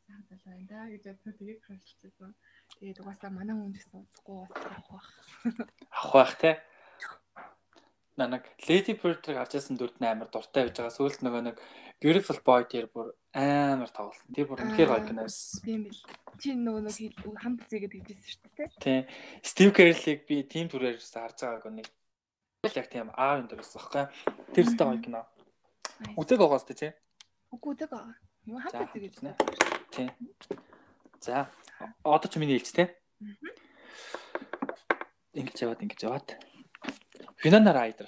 Speaker 3: л сайн залуу байна да гэж бодсон. Тэгээд хурцлчихсан. Тэгээд угаасаа манай хүн гэсэн утгагүй угаасаа авах байх.
Speaker 1: авах байх те. Нанаг Lady Bird-ийг авчихсан дүрд нь амар дуртай байж байгаа. Сүүлд нөгөө нэг Beautiful Boy дээр бүр амар тоглосон. Тэр бүр үнэхээр гоё кино байсан.
Speaker 2: Тийм бил. Чи нөгөө нэг хэл- хамт зээгээд хэлжсэн шүү дээ.
Speaker 1: Тий. Steve Carell-ийг би team төрөөр ерөөсө харж байгаагүй нэг яг тийм аав энэ төрөөс баггүй. Тэр зүйтэй гоё кино.
Speaker 2: Nice.
Speaker 1: Үзэг байгаас тэ чи.
Speaker 2: Үгүй дээ. Юу
Speaker 1: За,
Speaker 2: хамт зээгээд
Speaker 1: хавцгаа.
Speaker 2: хэлсэн.
Speaker 1: Тий. За. о- Одоо ч миний хэлж те. Ингэж яваад ингэж яваад. Финанаар айдер.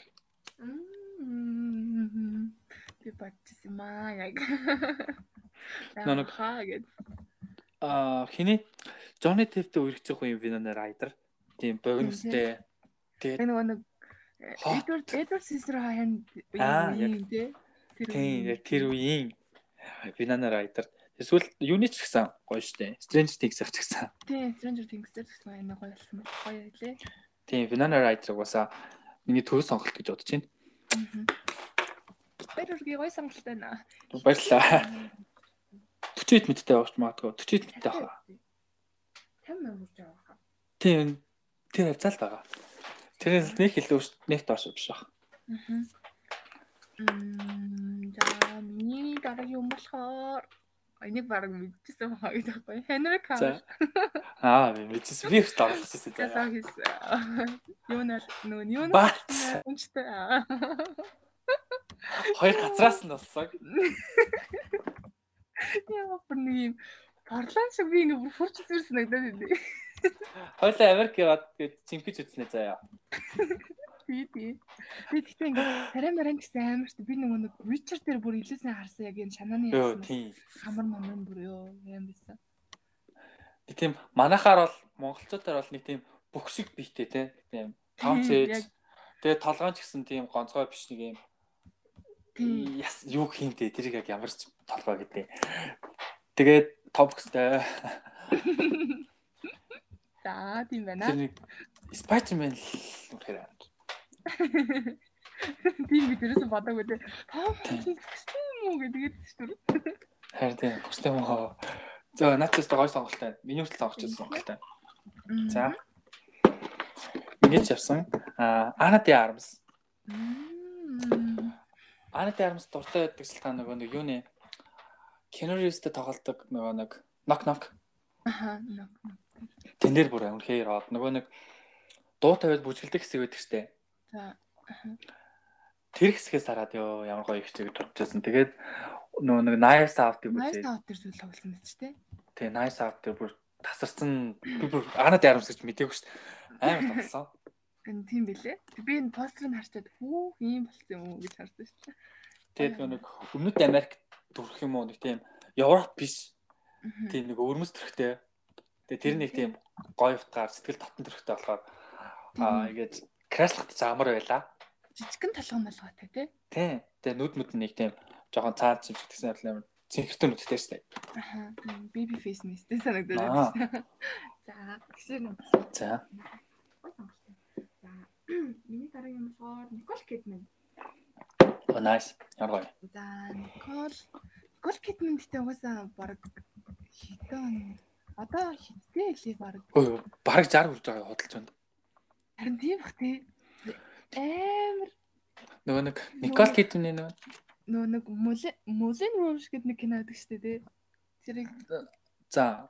Speaker 2: Мм. Би батчис маа яг.
Speaker 1: Нөө нэг-
Speaker 2: хаа гэд.
Speaker 1: Аа хиний Johnny Depp-тэй үргэлжлэх үеийн Финанаар айдер. Тийм богиностэй.
Speaker 2: Би
Speaker 1: Тэгээд
Speaker 2: нөгөө нэг э,
Speaker 1: Хот.
Speaker 2: Эдвард Эдвард систер хаянд
Speaker 1: Аа, яг.
Speaker 2: тий.
Speaker 1: тийм яг тэр үеийн Финанаар айдер. Эсвэл юуны ч гэсэн гоё штэ. Strange Things-ах ч гэсэн.
Speaker 2: тий Stranger Things-ээр гэсэн аймаг гоё болсон байна. Гоё байлээ.
Speaker 1: Тийм Финанаар айдер угаасаа миний төв сонголт гэж бодож байна.
Speaker 2: Баяр үргээ гоё сонголт байна.
Speaker 1: Баярлалаа. 40 мэдтэй авахч магадгүй 40 мэдтэй авах.
Speaker 3: Тань мөрж авах.
Speaker 1: Тийм. Тэр хавцаалт байгаа. Тэрээс нэг илүү ш- нэг доош биш баг.
Speaker 2: Мгм. Мм, за миний дараагийн юм болохоор энийг баг мэдчихсэн хаа гэдэг байхгүй. Henry Cavill.
Speaker 1: За. Аа, би мэдчихсэн. Би их доорлочихсон.
Speaker 2: Гэсэн хис. Юу нэл нүүн юу нэл
Speaker 1: Бат
Speaker 2: өмчтэй.
Speaker 1: хоёр газраас нь болсон.
Speaker 2: Яа бүр нэг юм борлон шиг би нэг бүр хурц зэрсэн надад тий.
Speaker 1: Хойлоо Америк яваад тэгээд цэмгэж үзнэ заяа.
Speaker 2: Тий тий. Би гэхдээ ингээд царай маран гэсэн амар шүү. Би нөгөө нэг Richard дээр бүр илүүсэн харсан яг энэ шанааны
Speaker 1: Йоо,
Speaker 2: юм.
Speaker 1: тийм.
Speaker 2: Хамар мамрын бүр ёо юм бисэн.
Speaker 1: Нэг тийм манахаар бол монголчуудаар бол нэг тийм бүх шиг бийтэй те. Тийм. Том
Speaker 2: Тийм,
Speaker 1: цээж.
Speaker 2: яг.
Speaker 1: Тэгээд толгойн ч гэсэн тийм гонцгой биш нэг юм.
Speaker 2: Тий.
Speaker 1: Яс юу хиймтэй тэрийг яг ямар ч толгой гэдэг. Тэгээд топкстэй.
Speaker 2: За тийм байна.
Speaker 1: Тэр нэг Spider-Man л үнэхээр амар.
Speaker 2: Тийм би дээрээс бодоагүй тий. Том хэвчээ юм уу гэдэг шүү.
Speaker 1: Харин тийм хүстэй мөн. За наачаас гой сонголт байна. Миний хүртэл сонгочихсон сонголт байна. За. Ингэж явсан. Аа Анати Армс.
Speaker 2: Мм.
Speaker 1: Анати Армс дуртай байдаг шалтгаан нөгөө нэг юу нэ? Кенеристтэй тоглолдог нөгөө нэг нок нок.
Speaker 2: Аха. нок, нок.
Speaker 1: Тэн дээр бүр үнхээр од нөгөө нэг дуу тавиад бүжгэлдэг хэсэг байдаг штэ.
Speaker 2: За.
Speaker 1: Тэр хэсгээс хараад ёо ямар гоё ихтэй гэж бодчихсон. Тэгээд нөгөө нэг Nice Out гэдэг
Speaker 2: Nice
Speaker 1: үзээ.
Speaker 2: out төр зүйл тоглосон мэт ч тий.
Speaker 1: Тэгээ Nice Out дээр бүр тасарсан би бүр Анати Армс гэж мдэггүй штэ. Амар тоглосон.
Speaker 2: Гэн тийм билээ. Би энэ постерыг харчаад хүү ийм болсон юм уу гэж харсан шүү дээ.
Speaker 1: Тэгээд нөгөө нэг өмнөд Америк төрөх юм уу нэг тийм Европ биш
Speaker 2: Мгм.
Speaker 1: тийм нэг өвөрмөс төрхтэй. Тэгээд тэр нэг тийм гоё утгаар сэтгэл татан төрхтэй болохоор аа ингэж крашлахт замар байла.
Speaker 2: Жижигхэн толгой молготой тий.
Speaker 1: Тийм. Тэгээд нүд мүд нь нэг тийм жоохон цаад чимж гэсэн юм. Цинхэртэн нүдтэй штэ.
Speaker 2: Аха. Baby face мэстэй санагдаад
Speaker 1: Аа.
Speaker 2: байна.
Speaker 3: За, гисэр юм.
Speaker 1: За.
Speaker 3: Гой сонголт. За, миний дараагийн юм болохоор Никол Кидман.
Speaker 1: Оо nice. Ямар гоё.
Speaker 2: За, Никол Никол Кидман гэдэг угаасаа баг хитэн. Одоо хиттэй хэлий баг.
Speaker 1: Өө бараг 60 хүрж байгаа худалч байна.
Speaker 2: Харин тийм бах тий. Амар
Speaker 1: Нөгөө нэг Никол Кидмний нөгөө
Speaker 2: нөө нэг Мулен Мулен Rouge гэдэг нэг кино байдаг шүү дээ тий. Тэрийг
Speaker 1: за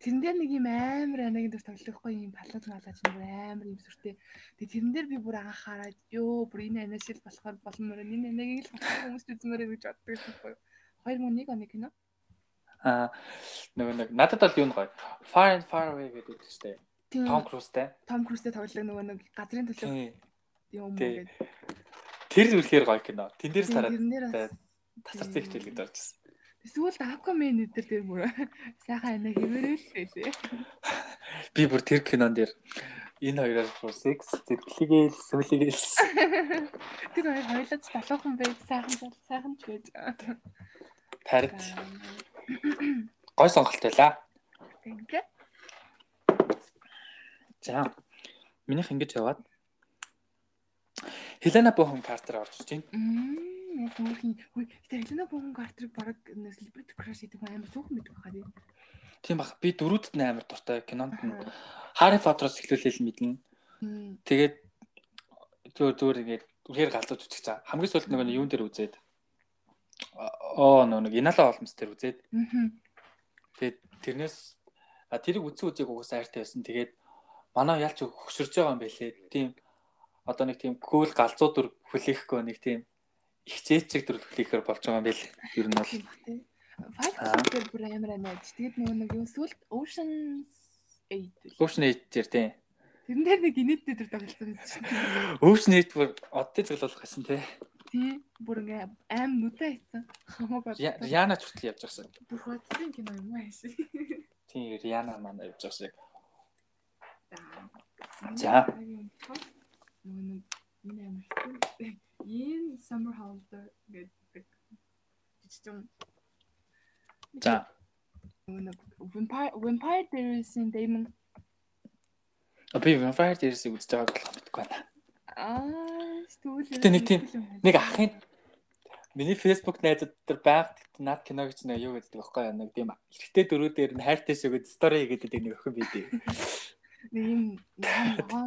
Speaker 2: Тэрэн дээр нэг юм амар анаг дүр тоглохгүй юм баллад малаж нэг амар юм сүртэй. Тэгээ тэрэн дээр би бүр анхаараад ёо бүр энэ анаа шил болохоор болно мөрөө энэ анагийг л хатсан хүмүүс үзмээрэй гэж боддог байсан байхгүй юу. 2001 оны кино.
Speaker 1: аа нөгөө нэг надад бол юу нь гоё. Far and Far Away гэдэг үг штэ.
Speaker 2: Тийм
Speaker 1: Том Крузтэй.
Speaker 2: Том Крузтэй тоглодог нөгөө нэг газрын төлөө
Speaker 1: Тийм.
Speaker 2: юм
Speaker 1: Тий.
Speaker 2: гэдэг.
Speaker 1: Тэр үнэхээр гоё кино. Тэн дээрс хараад
Speaker 2: Тэрэн дээр бас
Speaker 1: тасарсан хичээл гэдэг орчихсон.
Speaker 2: Эсвэл Aquaman өдр дээр бүр сайхан анаа хэмээрэл хэлээ.
Speaker 1: Би бүр тэр кинон дээр энэ хоёроос бүр sex зэтгэлгээл сүмлэгээл.
Speaker 2: Тэр хоёр хоёлаад залуухан байж сайхан бол сайхан ч гэж.
Speaker 1: Тард гой сонголт байлаа.
Speaker 2: Ингээ.
Speaker 1: За. Минийх ингэж яваад Хелена Бохан Картер орж ирж байна.
Speaker 2: Мм, яг өөрхийн. Хөөе, Элена Богон Картерыг баг celebrity crush гэдэг хүн амар цөөхөн мэддэг байхаа тий.
Speaker 1: Тийм бах би дөрүүдэд нь амар дуртай кинонд нь
Speaker 2: Аха.
Speaker 1: Harry Potter-оос эхлүүлээл мэднэ.
Speaker 2: Мм.
Speaker 1: Тэгээд зүгээр зүгээр ингээд үнээр галзууд үтчих цаа. Хамгийн сүүлд нөгөө нэг юун дээр үзээд оо нөгөө нэг Инала Олмс дээр үзээд
Speaker 2: Мм.
Speaker 1: тэгээд тэрнээс а, тэрийг үсэн үзег угаасаа хайртай байсан. Тэгээд манай ялч хөшөрж байгаа юм байлээ. Тийм одоо нэг тийм гөөл галзуу дүр хүлээхгүй нэг тийм ихчээчэг дүр хүлээхээр болж байгаа юм байлээ. Ер нь бол
Speaker 2: Тийм бах тий. Fight
Speaker 1: Аа.
Speaker 2: Club дээр бүр амар анаад. Тэгээд нөгөө нэг юу сүлд Ocean 8 үү?
Speaker 1: Ocean 8 дээр тийм.
Speaker 2: Тэрэн дээр нэг инээдтэй төр тоглосон юм чинь.
Speaker 1: Ocean 8 бүр одтой зөвлөх гэсэн тийм.
Speaker 2: Тий. Бүр ингээ аим нүдэ хайцсан. Хамаг бол.
Speaker 1: Ри- Риана ч хүртэл явж байгаа гэсэн.
Speaker 3: Бүх хотын кино юм аа ши.
Speaker 1: Тийм Риана маань явж байгаа гэсэн.
Speaker 3: За.
Speaker 1: За.
Speaker 3: Дараагийн тод нөгөө нэг энэ амар хэцүү. Ийм summer holiday гэдэг жижиг юм.
Speaker 1: За
Speaker 2: нөгөө нэг Vampire Vampire Diaries-ийн Damon
Speaker 1: би Vampire Diaries-ийг үзэж байгааг болох мэдгүй байна.
Speaker 2: Аа, тэгвэл
Speaker 1: Гэтэ нэг тийм- Нэг ахын миний Facebook найзууд дээр байгаад тэгт над кино гэж нэг юу гэдэг байхгүй юу? Нэг тийм эргэтэй дөрүү дээр нь хайртай шигэд стори хийгээд нэг өхөн бид.
Speaker 2: нэг юм ногоо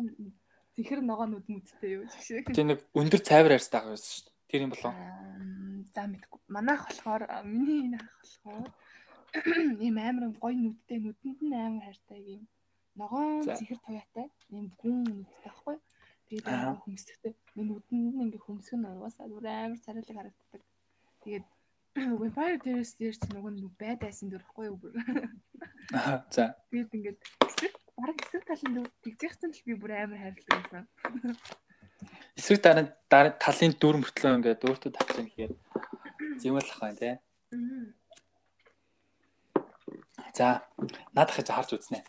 Speaker 2: зихэр ногоо нүд мүдтэй юу жишээ.
Speaker 1: Тийм нэг өндөр цайвар арьстай ах байсан шүү дээ. Тэр юм болов.
Speaker 2: Аа, За мэдгүй. Манайх болохоор аа, миний энэ ах болохоор ийм амар гоё нүдтэй нүдэнд нь амар хайртай юм. Ногоон
Speaker 1: За.
Speaker 2: зихэр туяатай ийм гүн нүдтэй байхгүй. Тэгээд
Speaker 1: Аа.
Speaker 2: амар хөмсөлттэй. Миний нүдэнд нь ингээ хөмсөх нь угаасаа бүр амар царайлаг харагддаг. Тэгээд Vampire Diaries дээр ч нөгөө нь байдайсан дүр байхгүй юу бүр.
Speaker 1: Аа, За.
Speaker 2: Тэгээд ингээд эсрэг бараг эсрэг талын дөрөв тэгчихсэн л би бүр амар хайрлагдсан байсан.
Speaker 1: Эсрэг дараа дараа талын дүр мөртлөө ингээд өөртөө тавьчихсан гэхээр зэмэлх байх тий. За. Надах гэж харж үзнэ.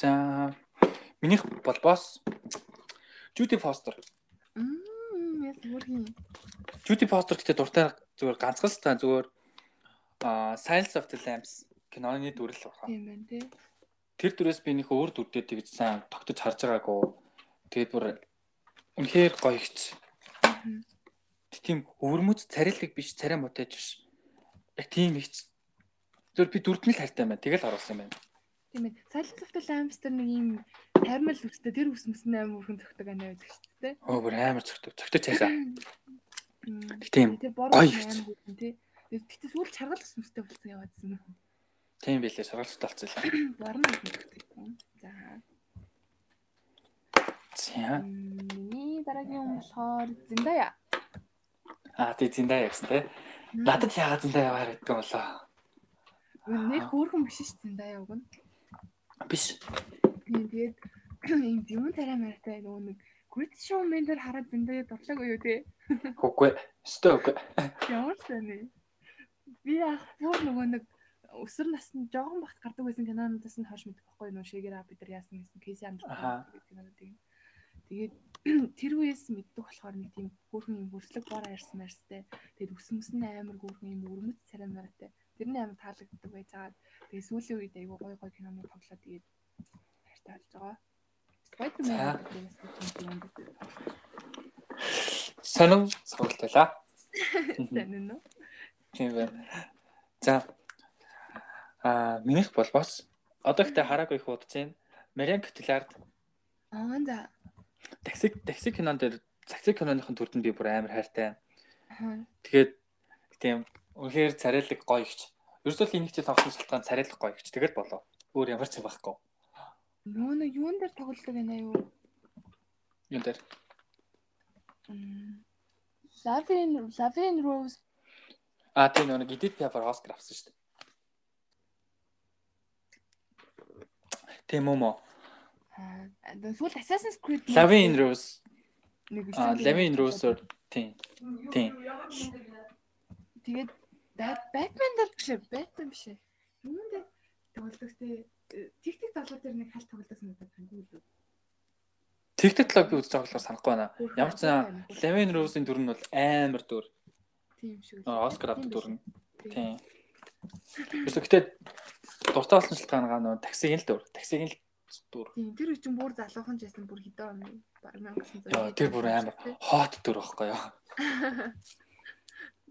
Speaker 1: За. Минийх бол босс Judy Foster.
Speaker 2: Мм яс бүрхийн.
Speaker 1: Judy Foster гэдэг дуртай зүгээр ганцхан л таа зүгээр аа Silence of the Lambs киноны дүрэл байна.
Speaker 2: Тийм байна тий.
Speaker 1: Тэр дүрээс би нөх өөр дүр дээр тэгж сайн тогтож харж байгаагүй. Тэгээд бүр үнэхээр гоё ихч.
Speaker 2: Мгм.
Speaker 1: Тийм өвөрмөц царилэг биш, царай мутаж биш. Яг тийм ихч. Зүгээр би дүрд нь л хайртай байна. Тэгэл оруулсан юм байна.
Speaker 2: Тийм байна. Silent of the Lambs тэр нэг юм тармал үстэй тэр ус мөснө амар бүрхэн зөвхөн байна байдаг шүү дээ.
Speaker 1: Оо бүр амар зөвхөн зөвхөн цайсаа.
Speaker 2: Мм.
Speaker 1: Тийм.
Speaker 2: Тэр бор
Speaker 1: гоё
Speaker 2: ус
Speaker 1: хэвчээ.
Speaker 2: амар бүрхэн тий. Тэгтээ сүүл чаргал ус мөстэй болсон яваадсан юм.
Speaker 1: Тийм билээ. Сургалцтай болсон юм.
Speaker 2: Борно ус мөстэй. За.
Speaker 1: За.
Speaker 2: Мм, Миний дараагийн юм болохоор Зиндая.
Speaker 1: Аа тий зиндаа явсан те. Надад яагаад зиндаа яваа гэдэг юм болоо.
Speaker 2: нэг хөөрхөн биш шүү Зиндая уг нь.
Speaker 1: Биш.
Speaker 2: Тийм тэгээд юм димэн тарай мартай нөгөө нэг Грит шоу ментор хараад зөндөө дурлаагүй юу те.
Speaker 1: Үгүй. Өстөө үгүй.
Speaker 2: Ямар сони. Би ах бүр нөгөө нэг өсөр насны жоохон бахт гардаг байсан кинонуудаас нь хойш мэдэх байхгүй нөө шээгэр аа бид нар яасан гэсэн кейс
Speaker 1: Аха.
Speaker 2: амжилт кинонуудыг. Тэгээд тэр үеэс мэддэг болохоор нэг тийм хөөрхөн юм хөрслөг бор арьсан арьстай. Тэгээд өсөн өсөн амар хөөрхөн юм өрмөц царай мартай. Тэрний амар таалагддаг байж байгаа. Тэгээд сүүлийн үед айгүй гоё гоё кинонууд тоглоод тэгээд хайртай болж байгаа. Spider-Man
Speaker 1: За.
Speaker 2: гэдэг нь бас тийм юм байна.
Speaker 1: Сонин сургалт байлаа.
Speaker 2: Сайн нь нөө.
Speaker 1: Тийм байна. За. Аа минийх болбоос одоо ихтэй хараагүй их удаж байна. Мариан Котилард
Speaker 2: Аа за.
Speaker 1: такси такси кинон дээр такси киноныхын төрдөнд би бүр амар хайртай.
Speaker 2: Аа.
Speaker 1: Тэгээд тийм үнэхээр царайлаг гоё ихч. Ерөөсөө л энийгтэй сонгосон шалтгаан царайлаг гоё ихч. Тэгэл болов. Өөр ямар ч юм байхгүй.
Speaker 2: Нөө нэг юун дээр тоглодог байна юу?
Speaker 1: Юу нээр
Speaker 2: Lavin Lavin Rose
Speaker 1: Аа тийм нэг Edit Pepper Oscar авсан шүү дээ. Тийм юм уу?
Speaker 2: аа сүүл Assassin's Creed
Speaker 1: Lavin Rose.
Speaker 2: нэг
Speaker 1: Аа Lavin Rose-оор тийм. Тийм.
Speaker 2: Тэгээд Bat- Batman дээр биш ээ, Batman биш ээ.
Speaker 3: Юунд дэ тоглохтэй
Speaker 2: э,
Speaker 3: тэг тэг тоглох төр нэг хальт тоглох санагдаад байна тийм үү?
Speaker 1: Тэгтэг талаа би үзэж байгаа болохоор санахгүй байна.
Speaker 2: Хөөх,
Speaker 1: Ямар ч сан
Speaker 2: Batman байх.
Speaker 1: Lemon Rose-ийн дүр нь бол амар дүр.
Speaker 2: тийм шүү.
Speaker 1: Нөө, Оскар авдаг дүр нь.
Speaker 2: Тийм.
Speaker 1: Тийм. Юусе гэтээ дуртай болсон шалтгаан нь нөө таксигийн л дүр. Таксигийн л дүр.
Speaker 2: Тийм тэр үчин бүр залуухан ч байсан бүр хэдэн он баг 1900.
Speaker 1: Яа, тэр бүр амар хот дүр байхгүй юу?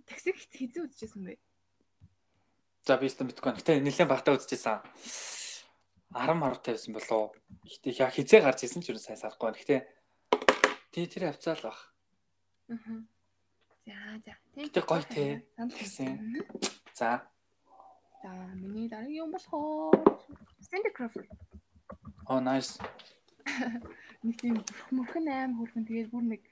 Speaker 2: Такси хэд хэзээ үзчихсэн бэ?
Speaker 1: За би өөртөө мэдгүй байна. Гэтэ нэлээд багтаа үзчихсэн. 10 мар тавьсан болов. Гэтэ яа хизээ гарч исэн ч юу сайн сарахгүй байна. Гэтэ тий тэр хавцаал баг.
Speaker 2: Аа. За за.
Speaker 1: Гэтэ гоё тий.
Speaker 2: Санал
Speaker 1: Тэгсэн.
Speaker 2: хэлсэн.
Speaker 1: За.
Speaker 2: За миний дараагийн юм болохоор Cindy Crawford.
Speaker 1: Оо Oh, nice.
Speaker 2: Нэг тийм бүрхэн мөрхөн аим хөрхөн тэгээд бүр нэг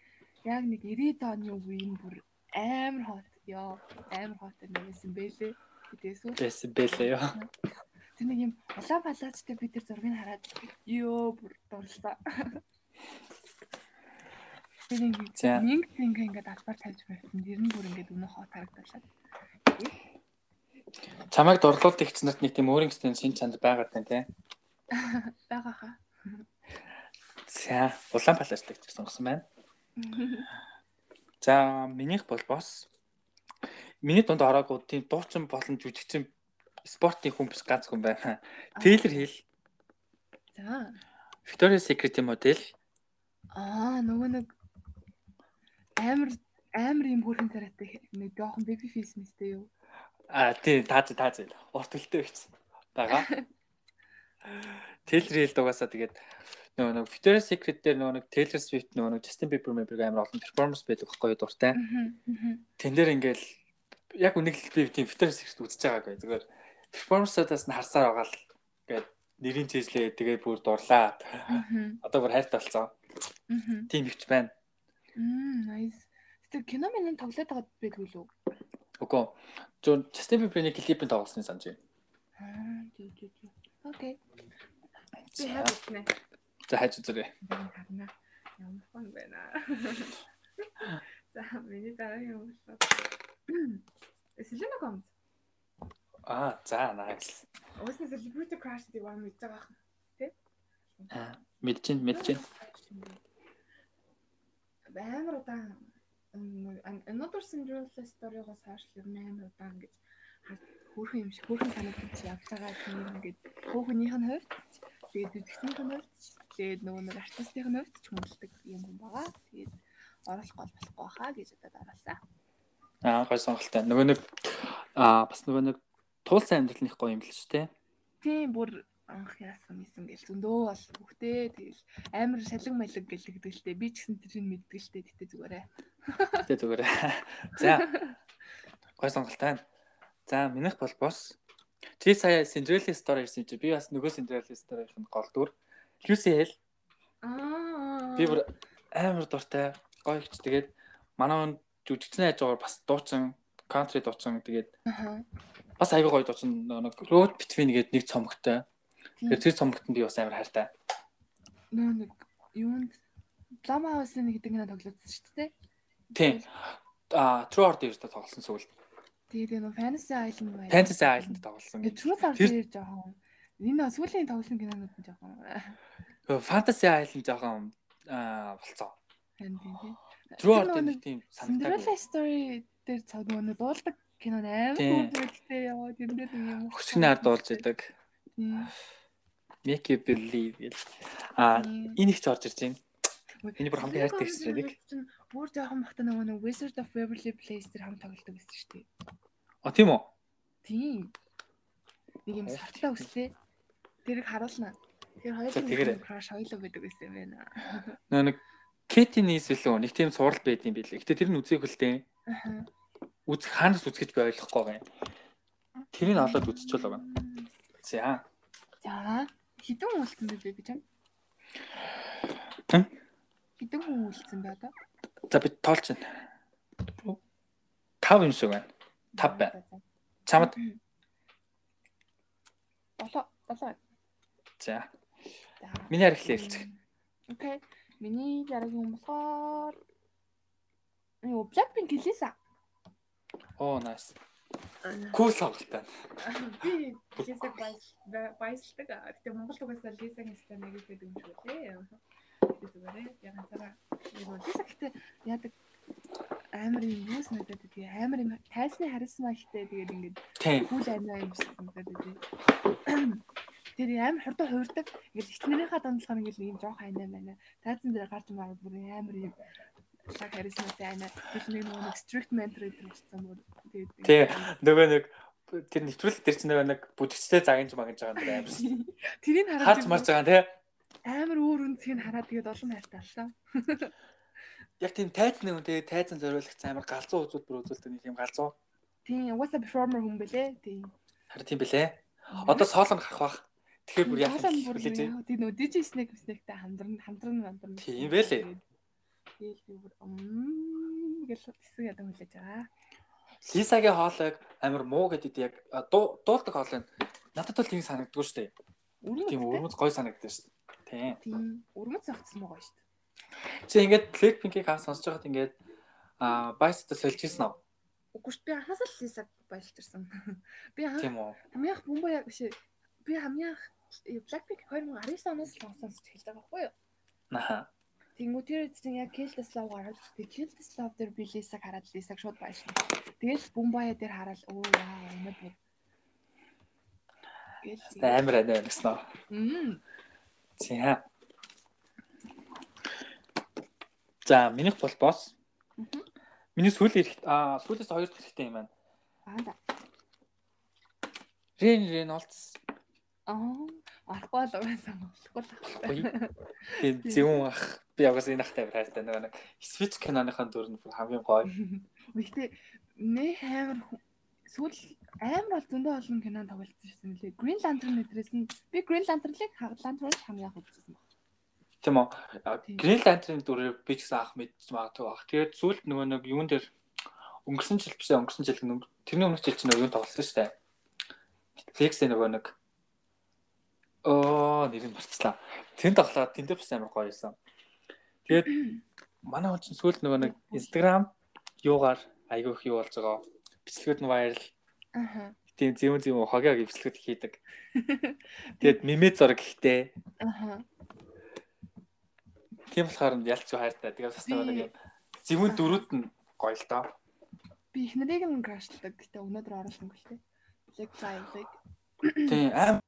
Speaker 2: яг нэг 90-ийн оны үеийн бүр амар хот ёо амар хот нэгсэн бэлээ. Тэгээс үү
Speaker 1: Тэс бэлээ юу.
Speaker 2: тэр нэг юм улаан палаажтай би тэр зургийг хараад ёо бүр дурлаа. Тэр нэг
Speaker 1: За.
Speaker 2: нэг зингээ ингээд албаар тавьж байсан. Тэр нь бүр ингээд өнөө хот харагдалаа.
Speaker 1: Чамайг дурлуулт ихцнэрт нэг тийм өөрөнгө систем шинж чанар байгаад байна тий.
Speaker 2: Бага хаа.
Speaker 1: За. Улаан палаждаг гэж сонгосон байна. За минийх бол бос. Миний дунд ороогүй тийм дуучин болон жүжигчин спортын хүн биш ганц хүн байна. Тейлер хэл,
Speaker 2: За.
Speaker 1: Victoria's Secret-ийн модель.
Speaker 2: Аа нөгөө нэг амар амар юм хөрхэн царайтай нэг жоохон baby face мэстэй юу.
Speaker 1: Аа тий, тааж тааж. Урт төлтэй байц. Бага. Тейлер хэл дугаасаа тэгээд нөгөө нэг Victoria's Secret дээр нөгөө нэг Taylor Swift нөгөө нэг Justin Bieber мэтэр амар олон перформанс байдаг байхгүй юу дуртай. Тэн дээр ингээл яг үнэхээр би тийм Victoria's Secret үзэж байгаагүй. Зүгээр перформансуудаас нь харсаар байгаа л гээд нэрийн чийжлээ тэгээд бүр дурлаа. Одоо бүр хайртай болсон. Тийм ихч байна.
Speaker 2: Мм, nice. Тэ кино мэн тоглоод байгаа байдгүй лүү.
Speaker 1: Үгүй. Зөв Justin Bieber-ийн клипэнд тоглосныг санаж байна.
Speaker 2: Аа, тий, тий, тий. Окей.
Speaker 3: Би хайр үзнэ.
Speaker 1: За хайж үзээрэй.
Speaker 3: Харна. Ямар фон байна. За миний дараагийн юм бол Селена Гомз.
Speaker 1: Аа, за nice.
Speaker 3: Уусна celebrity crush гэдэг юм мэдж байгаа юм.
Speaker 1: Аа, Мэдчихээн, мэдчихээн.
Speaker 3: Амар удаан м, An- Another Cinderella story-гоос хойш ер нь амар удаан гэж
Speaker 2: Хөрхэн юм шиг, хөрхэн санагдчих явж байгаа тийм ингээд хүүхнийх нь хувьд, тэгээд үзэгчнийх нь хувьд, тэгээд нөгөө нэг артистийнх нь хувьд ч хүндэлдэг юм хүн байгаа. Тэгээд оролцох гол болохгүй хаа гэж одоо дараалсан.
Speaker 1: Аа, гоё сонголттой. Нөгөө нэг аа, бас нөгөө нэг туулсан амьдрал нэх гоё юм л шүү дээ.
Speaker 2: Тийм бүр анх яасан юмсэн гэл зөндөө бол бүхтэй тэгэл амар шалан малэг гэлэгдэлтэй би ч гэсэн тэрийг мэддгэлтэй гэтээ зүгээрээ.
Speaker 1: Тэ зүгээр. За. Гоё сонголттой. За, минийх бол бос. Чи сая Cinderella story ирсэн чи би бас нөгөө Cinderella story-ийн гол дүр. Lucy Hale
Speaker 3: Аа.
Speaker 1: Би бүр амар дуртай, гоё ихч тэгээд манай хүн жүжигчний хажуугаар бас дуучин, кантри дуучин тэгээд
Speaker 2: Аха.
Speaker 1: бас аягүй гоё дуучин нөгөө нэг Road Between гээд нэг цомогтой. Тэгээд Э, тэр цомогт нь би бас амар хайртай.
Speaker 2: Нөө нэг юунд Lama House-ын гэдэг нэг тоглосон шүү дээ.
Speaker 1: Тийм. А True Art дээр тоглосон сүйл.
Speaker 2: Тэгээд нөө Fantasy Island байна.
Speaker 1: Fantasy Island-д тоглосон.
Speaker 2: Э, True Love
Speaker 1: Тэр-
Speaker 2: дээр жоохон энэ бас сүүлийн тоглосон кинонууд нь жоохон
Speaker 1: Fantasy Island жоохон а болцоо.
Speaker 2: тань тийм тийм.
Speaker 1: True
Speaker 2: Тэр
Speaker 1: Art
Speaker 2: нөгөө
Speaker 1: дээр
Speaker 2: нэг
Speaker 1: нэг тийм санагдаагүй.
Speaker 2: Cinderella story дээр цаг нөгөө дуулдаг кино амар
Speaker 1: Тийм.
Speaker 2: хөөрөлтэй яваа тэр дээр нэг юм.
Speaker 1: Хөчгний ард болж идэг.
Speaker 2: Тийм.
Speaker 1: Make you believe. гэл. А
Speaker 2: Тийм.
Speaker 1: энэ их ч орж ирж байна.
Speaker 2: Ой,
Speaker 1: Миний бүр хамгийн
Speaker 2: Selena
Speaker 1: хайртай
Speaker 2: Gomez
Speaker 1: хэсэг нэг.
Speaker 2: чинь Бүр жоохон бахта нөгөө нэг Wizard of Waverly Place дээр хамт тоглолдог гэсэн шүү дээ.
Speaker 1: А тийм үү?
Speaker 2: Тийм. Нэг юм
Speaker 1: Ой.
Speaker 2: сартаа өстэй. Тэрийг харуулна. Тэр
Speaker 1: За, тэгээрэй.
Speaker 2: хоёулаа crush хоёулаа байдаг гэсэн юм байна.
Speaker 1: Нөө нэг Кэтинис билүү нэг тийм сурал байд юм билээ. Гэтэ тэр нь үзээх үлдээ.
Speaker 2: Аха.
Speaker 1: Үзэх ханаас үзгэж би ойлгохгүй байгаа юм. Тэрийг олоод үзчихвэл байгаа. За.
Speaker 2: За, хідэн хүн үлдсэн бэ би чам?
Speaker 1: Хэн?
Speaker 2: Хідэн хүн үлдсэн бэ одоо?
Speaker 1: За би тоолж байна. Тав юм шиг байна. Тав байна. Чамд
Speaker 2: Долоо, долоо.
Speaker 1: за.
Speaker 2: За.
Speaker 1: Миний архлыг хэлчих.
Speaker 2: Окей. Миний дараагийн хүн болохоор Юу, Blackpink гэлээсэ.
Speaker 1: Оо nice.
Speaker 3: Аа,
Speaker 1: Кул сонголттой.
Speaker 3: би Лизаг баяж- ба- баяжлдаг. Аа, Гэтэ Монгол угаасаа Лизагийн стан нэг гэдэг юм шиг үлээ. Зүгээр яг анцаараа. нэг бол
Speaker 2: Лиза гэхдээ яадаг амар юм юу санагдаад тэгээ амар юм тайсны харизма ихтэй тэгээд ингээд
Speaker 1: Тийм.
Speaker 2: хүл амиа юм шиг санагдаад тэгээ. Тэр амар хурдан хувирдаг. Ингээл ихнэрийнхаа дундлахаар ингээл нэг юм жоох айнаа байна. Тайзан дээр гарч байгаа бүр амар юм. Цаг хариснатай айнаа. Тэр нэг нөгөө нэг strict mentor гэдэг болсон бүр. Тэгээд
Speaker 1: Тий. Нөгөө нэг тэр нэвтрүүлэг тэр чинь нөгөө нэг бүжгчтэй загинж магинж байгаа юм даа амар. шүү дээ.
Speaker 2: Тэрийг хараад
Speaker 1: Харж
Speaker 2: би
Speaker 1: марж байгаа тий.
Speaker 2: амар өөр үнцгийг хараад тэгээд олон хайртай аллаа.
Speaker 1: Яг тийм тайз нэг юм тий. Тайзан зориулах амар галзуу үзүүд бүр үзүүлдэг нэг юм галзуу.
Speaker 2: Тийм, угаасаа performer хүн бэлээ. Тийм.
Speaker 1: Харин тийм бэлээ. Одоо соолн гарах бах. Тэгэхээр бүр яах
Speaker 2: Хоолой нь бүр
Speaker 1: вэ?
Speaker 2: яа, тийм нөгөө DJ Snake Snake-тэй хамдран хамдран хамдран.
Speaker 1: Тийм байлээ.
Speaker 2: Тэгэл би бүр мм гэж хэсэг ядан хүлээж байгаа.
Speaker 1: Лисагийн хоолойг амар муу гэдэг яг а, дуу- дуулдаг хоолой нь надад бол тийм санагддаг шүү дээ.
Speaker 2: Өрмөц.
Speaker 1: Тийм өрмөц гоё санагддаг шүү дээ. Тийм.
Speaker 2: Тийм. Өрмөц зогцсон байгаа шүү дээ.
Speaker 1: Чи ингээд Blackpink-ийг хаа сонсож байхад ингээд а байстад солижсэн аа.
Speaker 2: Үгүй шүү би анхаас л Лисаг баялж ирсэн. Би анх
Speaker 1: Тийм үү.
Speaker 2: хамгийн их бомбо яг биш. Би хамгийн их Blackpink 2019 оноос л сонсож эхэлж байгаа байхгүй юу?
Speaker 1: Наа.
Speaker 2: Тэнгүү тэр эцэн яг Keltas Love гараад би Keltas Love дээр би Лисаг хараад Лисаг шууд баялсан. Тэгэл Бумбая дээр хараад оо яа өнө бүр.
Speaker 1: Тэ амар анаа гэсэн аа.
Speaker 2: Мм.
Speaker 1: Тийм. За, минийх бол босс.
Speaker 2: Мгм.
Speaker 1: Миний сүүлийн эрх а сүүлээс хоёр дахь хэрэгтэй юм байна.
Speaker 2: Аа да.
Speaker 1: Рен Ренолдс
Speaker 2: Аа, арахгүй л угаасаа болохгүй л
Speaker 1: Гоё.
Speaker 2: байна.
Speaker 1: тийм зөвөн ах. Би яваас энэ ахтай амар хайртай нөгөө нэг Switch киноныхон дүр нь бүр хамгийн гоё.
Speaker 2: Гэхдээ нэх амар хүн- сүүл амар бол зөндөө олон кинонд тоглолцсон шсэн мөлий. Green Lantern нэтрээс нь би Green Lantern-ыг Hard Lantern-ыг хамгийн анх үзсэн баг.
Speaker 1: Тийм үү. А,
Speaker 2: Тийм.
Speaker 1: Green Lantern-ийн дүрээр би ч гэсэн ах мэдж магадгүй ах. Тэгээд сүүлд нөгөө нэг юун дээр өнгөрсөн жил бишээ өнгөрсөн жил гэнэ, өнгө- тэрний өмнөх жил чинь нөгөө юу тоглосон шүү дээ. Netflix-ийн нөгөө нэг Оо, нэр нь марцлаа. Тэнд тоглоод тэндээ бас амар гоё юмсан. Тэгээд манай хүн чинь сүүлд нөгөө нэг Instagram юугаар айгүй их юу болж байгаа. Бичлэгүүд нь viral.
Speaker 2: Аха.
Speaker 1: Тийм зэвэн зэвэн хогёо гэж бичлэгүүд хийдэг. Тэгээд мимэ зураг ихтэй.
Speaker 2: Аха.
Speaker 1: Тийм болохоор нь ялч хайртай. Тэгээд бас нэг юм зэвүүн дөрүүд нь гоё л доо.
Speaker 2: Би эхнэрийг нь crashlaдаг. Гэтэ өнөөдөр оруулсан гэлтэй. Black Live-ыг.
Speaker 1: Тийм аим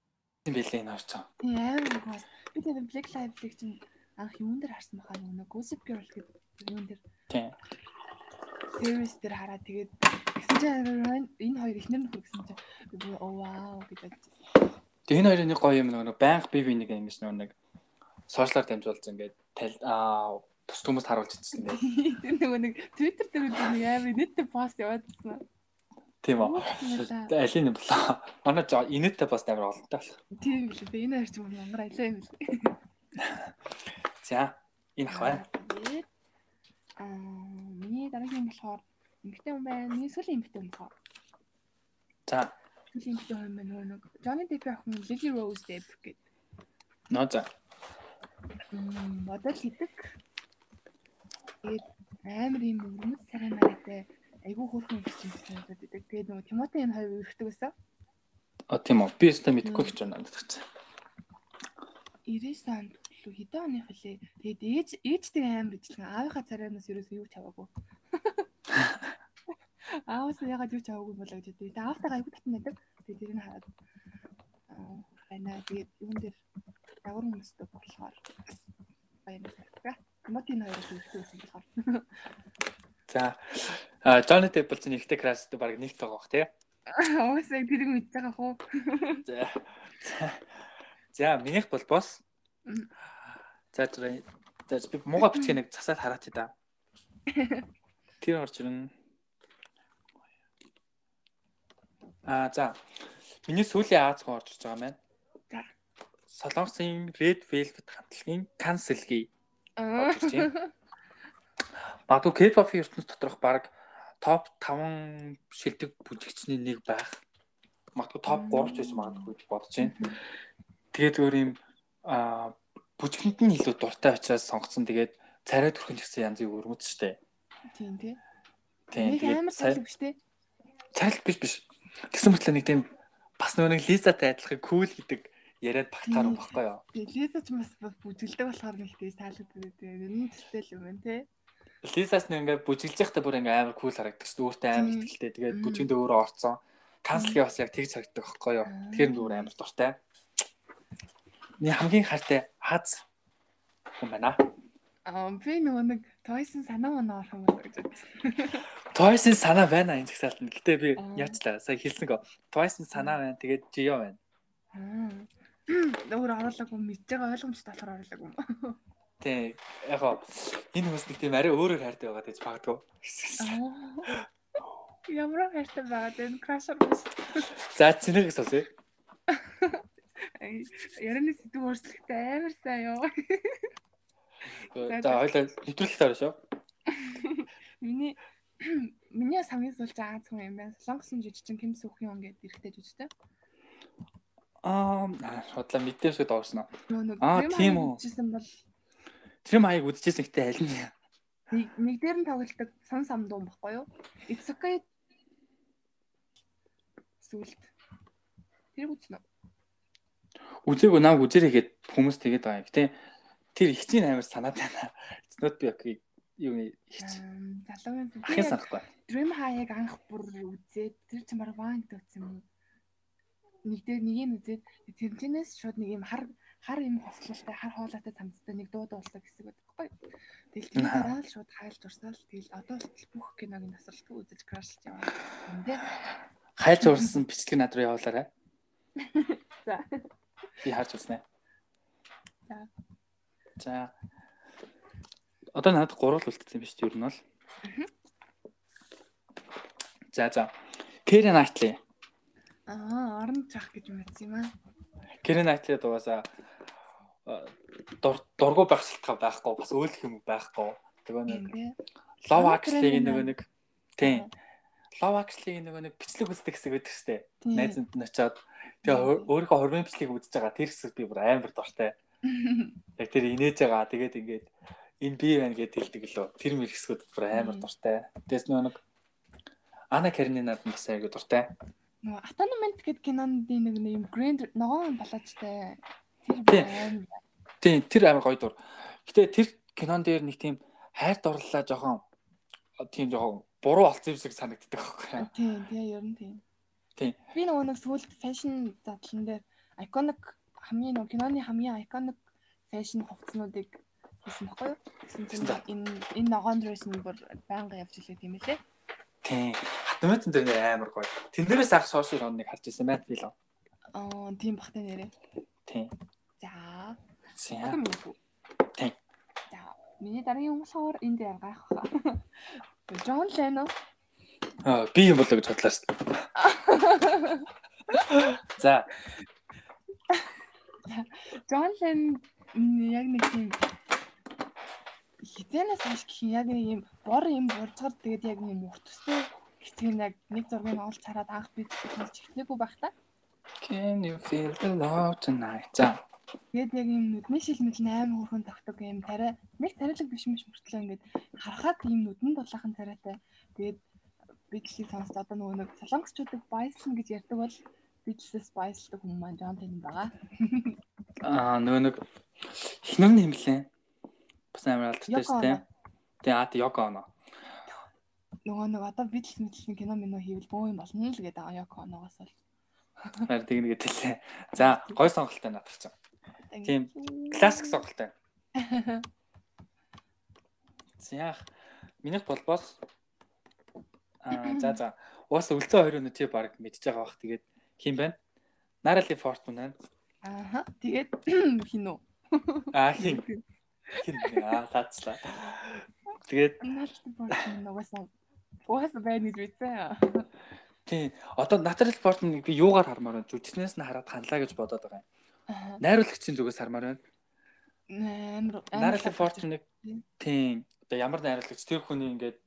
Speaker 1: юм билээ энэ орчоо.
Speaker 2: Тийм амар гоос. Би тэр Black Live-ыг чинь анх юун дээр харсан бахаа нэг Gossip Girl гэдэг юун дээр
Speaker 1: Тийм.
Speaker 2: сервис дээр хараад тэгээд гэсэн чинь амар энэ хоёр эхнэр нөхөр гэсэн чинь би бүр оо вау гэж бодчихсон.
Speaker 1: Тэгээд энэ хоёрын нэг гоё юм нэг банк бив нэг ингэж нэг сошиалар дамжуулж ингээд тал аа бус хүмүүст харуулж ирсэн юм.
Speaker 2: Тэр нөгөө нэг Twitter дээр үгүй нэг амар нэттэй пост яваадсан.
Speaker 1: Тийм үү.
Speaker 2: Уучлаарай.
Speaker 1: Алин юм болоо. Манай жоо- инээдтэй бас амар олонтой болох.
Speaker 2: Тийм билээ. Би энэ харч юм амар аялаа юм билээ.
Speaker 1: За энэ ах байна.
Speaker 2: Тэгээд, Аа, миний дараагийн болохоор эмгтэй хүн байна. Миний сүүлийн эмгтэй хүн болохоор.
Speaker 1: За
Speaker 2: Сүүлийн эмгтэй хүн байна нөгөө нэг Johnny Depp-ийн охин Lily Rose Depp гэдэг.
Speaker 1: ноо за.
Speaker 2: Мм, модель хийдэг. Тэгээд амар юм өрмөц сарай марайтай айгүй хөөрхөн ихсэн гэсэн юм байдаг. Тэгээд нөгөө Тимоти энэ хоёр өрхдөг гэсэн.
Speaker 1: А тийм үү. Би өөртөө мэдэхгүй гэж байна надад чинь.
Speaker 2: 90 онд лөө хэдэн оны хөлий. Тэгээд ээж ээжтэй амар ижилхэн аавынхаа царайнаас ерөөсөө юу ч аваагүй. Аавс нь ягаад юу ч аваагүй болоо гэж хэвчээ. Тэгээд аавтайгаа аягүй татсан байдаг. Тэгээд тэрийг нь хараад аа, байна. Тэгээд юм дээр ямар хүмүүстэй болохоор баярлалаа. Мотин хоёроос ихтэйсэн болохоор.
Speaker 1: За а, Johnny Depp бол чинь ихтэй краш дээр баг нэг тоогох тий.
Speaker 2: Аавс яг тэрийг мэдж байгаа хөө.
Speaker 1: За. За. За, минийх бол бос.
Speaker 2: Мгм.
Speaker 1: За, за за, би мууга бичгээ нэг засаад хараад хий да. Тэр орж ирнэ. А за. Миний сүүлийн Аз хуу орж ирж байгаа маань.
Speaker 2: За.
Speaker 1: Солонгосын Red Velvet хамтлагийн Cancel-гийн
Speaker 2: Аа.
Speaker 1: орж ирж байна. Магадгүй K-pop-ийн ертөнц доторх баг топ 5 шилдэг бүжигчний нэг байх. Магадгүй топ 3 ч байсан магадгүй гэж бодож байна. Тэгээд өөр юм аа бүжгэнд нь илүү дуртай учраас сонгоцсон. Тэгээд царай төрхөн ч гэсэн янзын өрмөц штэ.
Speaker 2: Тийм тий.
Speaker 1: Тийм.
Speaker 2: Нэг
Speaker 1: Тэгээд
Speaker 2: амар
Speaker 1: цай-
Speaker 2: салхив штэ.
Speaker 1: цайл биш биш. Тэгсэн мэт л нэг тийм бас нөгөө нэг Лизатай адилхан кул гэдэг яриад багтаар
Speaker 2: Тийм.
Speaker 1: байхгүй юу?
Speaker 2: Лизач бас бүжгэлдэг болохоор нэгтэй таалагддаг. Тэгээд энэ төстэй л юм байна те.
Speaker 1: Лизас нэг ингээд бүжиглж байхдаа бүр ингээд амар кул харагддаг шүү. дээ. Өөртөө амар
Speaker 2: Тийм.
Speaker 1: ихтэй. Тэгээд
Speaker 2: Мм.
Speaker 1: бүжигэнд өөрөө орцсон. Канцлгийн бас яг тэгж харагддаг байхгүй юу? Тэр нь бүр амар дуртай. миний хамгийн хайртай Аз хүн байна.
Speaker 2: Аа би нөгөө нэг Toys-ын санаа манаа орох юм байна гэж бодсон.
Speaker 1: Twice-ийн санаа байна энэ захисаалтанд. Гэтэ би
Speaker 2: Аа.
Speaker 1: яачлаа. Сая хэлсэн гоо. Twice-ийн санаа байна. Тэгээд Gio байна.
Speaker 2: Аа. Өөр оруулаг юм мэдж байгаа ойлгомжтой болохоор оруулаг юм.
Speaker 1: Тэг. Яг гоо энэ хүмүүс нэг тийм арай өөрөөр хайртай байгаа гэж багдгүй.
Speaker 2: Аа. Ямар хайртай байгаад энэ крашер биш.
Speaker 1: За цэнэгээс асууя.
Speaker 2: Ай, Ярианы сэтгэв өөрчлөлттэй амар сайн юу.
Speaker 1: За хоёлаа нэвтрүүлэлт орно шүү.
Speaker 2: Миний миний хамгийн сүүлж байгаа хүн юм байна. Солонгосын жижигчин Ким Сүхин он гэдэг эрэгтэй жижигтэй.
Speaker 1: Аа хотлоо мэдээсээ доорсноо.
Speaker 2: Нөгөө нэг
Speaker 1: Аа,
Speaker 2: Dream
Speaker 1: тийм
Speaker 2: High
Speaker 1: үү.
Speaker 2: жижигсэн бол
Speaker 1: Тэр маяг үдчихсэн гэхдээ аль нь
Speaker 2: нэг нэг дээр нь тоглолдог сан самдуун баггүй юу? It's okay. Сүлд. Тэр үзнэ.
Speaker 1: үзээгүй нам үзэрээгээд хүмүүс тэгээд байгаа юм. Гэтэ тэр их чинь амар санаад байна. It's not be okay. Юу нэ их чинь.
Speaker 2: Залуугийн зүг.
Speaker 1: Ахын санахгүй.
Speaker 2: Dream High-ыг анх бүр үзээд тэр чимээр ванг дөөцсөн юм. Нэг дээр нэг нь үзээд тэрнээс шууд нэг юм хар хар юм хослолтой хар хоолойтой самцтай нэг дуу дуулдаг хэсэг байдаг байхгүй. Тэгэл тэр
Speaker 1: Аха.
Speaker 2: дараа л шууд хайлж урсаал тэгэл одоо л бүх киног нь асралтгүй үзэж крашлж яваа. Тэ.
Speaker 1: Хайлж уурсан бичлэг над руу явуулаарай.
Speaker 2: За.
Speaker 1: Би харж уснаа.
Speaker 2: За.
Speaker 1: За. Одоо надад гурал үлдсэн биз дээ ер нь бол. За за. Кэрен Айтли.
Speaker 2: Аа, орон чах гэж мэдсэн юм аа.
Speaker 1: Кэрен Айтли дугаасаа э, дургу байх шалтгаан байхгүй бас өөлөх юм байхгүй. Тэгээ нэг
Speaker 2: Тийм тий.
Speaker 1: Love
Speaker 2: Манай
Speaker 1: Actually-ийн
Speaker 2: Кэрэн
Speaker 1: нөгөө
Speaker 2: маань.
Speaker 1: нэг тийм. Love Actually-ийн нөгөө нэг бичлэг үздэг хэсэг байдаг шүү дээ.
Speaker 2: Тийм.
Speaker 1: Найзанд нь очиод тэгээ
Speaker 2: Тийм.
Speaker 1: хо- өөрийнхөө хормын бичлэгийг үзэж байгаа тэр хэсэг би бүр амар дуртай. Яг тэр инээж байгаа. Тэгээд ингээд энэ би байна гэд хэлдэг лөө. Тэр мэр хэсгүүд бүр амар
Speaker 2: Мм.
Speaker 1: дуртай. Тэс нөгөө нэг Ана Каренинад нь бас айгүй дуртай.
Speaker 2: Нөгөө Autonomous гэдэг кинонд нэг нэг юм Grand ногоон балаажтай тэр
Speaker 1: Тийм.
Speaker 2: байна.
Speaker 1: Тийм, тэр амар гоё дур. Гэтэ тэр кинон дээр нэг тийм хайр дурлалаа жоохон тийм жоохон буруу олцсон юм шиг санагддаг байхгүй юу?
Speaker 2: Тийм, тийм, ер нь тийм.
Speaker 1: Тийм.
Speaker 2: Би нөгөө нэг сүүлд фэшн задлан дээр iconic хамгийн нөгөө киноны хамгийн iconic фэшн хувцснуудыг хийсэн баггүй юу? Тэгсэн чинь
Speaker 1: Тэгсэн
Speaker 2: энэ энэ ногоон dress нь бүр байнга явж илээ тийм ээ.
Speaker 1: Тийм. Хатмын дээр нэр амар гоё. Тэндэрээс ах сошиал хоног харж ирсэн байна би л.
Speaker 2: Аа, тийм бахтай нэрээ.
Speaker 1: Тийм.
Speaker 2: За.
Speaker 1: Тийм.
Speaker 2: Адам юу?
Speaker 1: Тийм.
Speaker 2: За, миний дараагийн хүмүүсээр энд дээр гайх واخа. Джон Лено.
Speaker 1: Аа, би юм болоо гэж бодлоо шүү дээ. За,
Speaker 2: Джон Лен яг нэг тийм хитэнээс хойш гэх юм яг нэг юм бор юм бурцгар тэгээд яг юм урт төстэй хитэн яг нэг зургийг олж хараад анх би зөвхөн чихнээгүй байх та.
Speaker 1: can you feel the love tonight? За.
Speaker 2: Тэгээд яг юм нүдний шилмэл 8 хөрхөн тогтдог юм тариа нэг тарилэг биш мөч мөртлөө ингээд харахад юм нүдэн дулаахан тариатай. Тэгээд бичлийг сонсоод одоо нөгөө нэг солонгосчуудыг байслан гэж ярьдаг бол бичлээс байсладаг хүмүүс маань Джон Лен байгаа.
Speaker 1: Аа, нөгөө нэг хинэн нэмлээ. Бас амар алдтай
Speaker 2: Йоко
Speaker 1: шүү дээ. Тийм, аа, тийм, Йоко оно.
Speaker 2: Нөгөө нэг одоо бидл мэдлсэн кино минь хийвэл бөө юм болно л гэдэг аа Йоко оноогоос бол.
Speaker 1: Баяр тэгнэ гэтэлээ. За, гоё сонголттой надад чинь. Тийм. Классик сонголттой. Зяах. Минийх болбоос аа за за. Уус үлцэн хоёр өнөө тий баг мэдчихэж байгаа бах. Тэгээд хим байна? Нарали Фортман байна.
Speaker 2: Ааха. Тэгээд хинөө.
Speaker 1: Аа хин хин аа таацлаа. Тэгээд
Speaker 2: Нааштай болсон угаасаа угаасаа байна гэж үтсэн.
Speaker 1: тий одоо Натурал Фортманыг би юугаар хармаар байна? Жүжигчнээс нь хараад ханлаа гэж бодоод байгаа юм.
Speaker 2: Аа.
Speaker 1: Найруулагчийн зүгээс хармаар байна.
Speaker 2: Амар амар
Speaker 1: Нарали Фортманыг тий одоо ямар найруулагч тэр хүний ингээд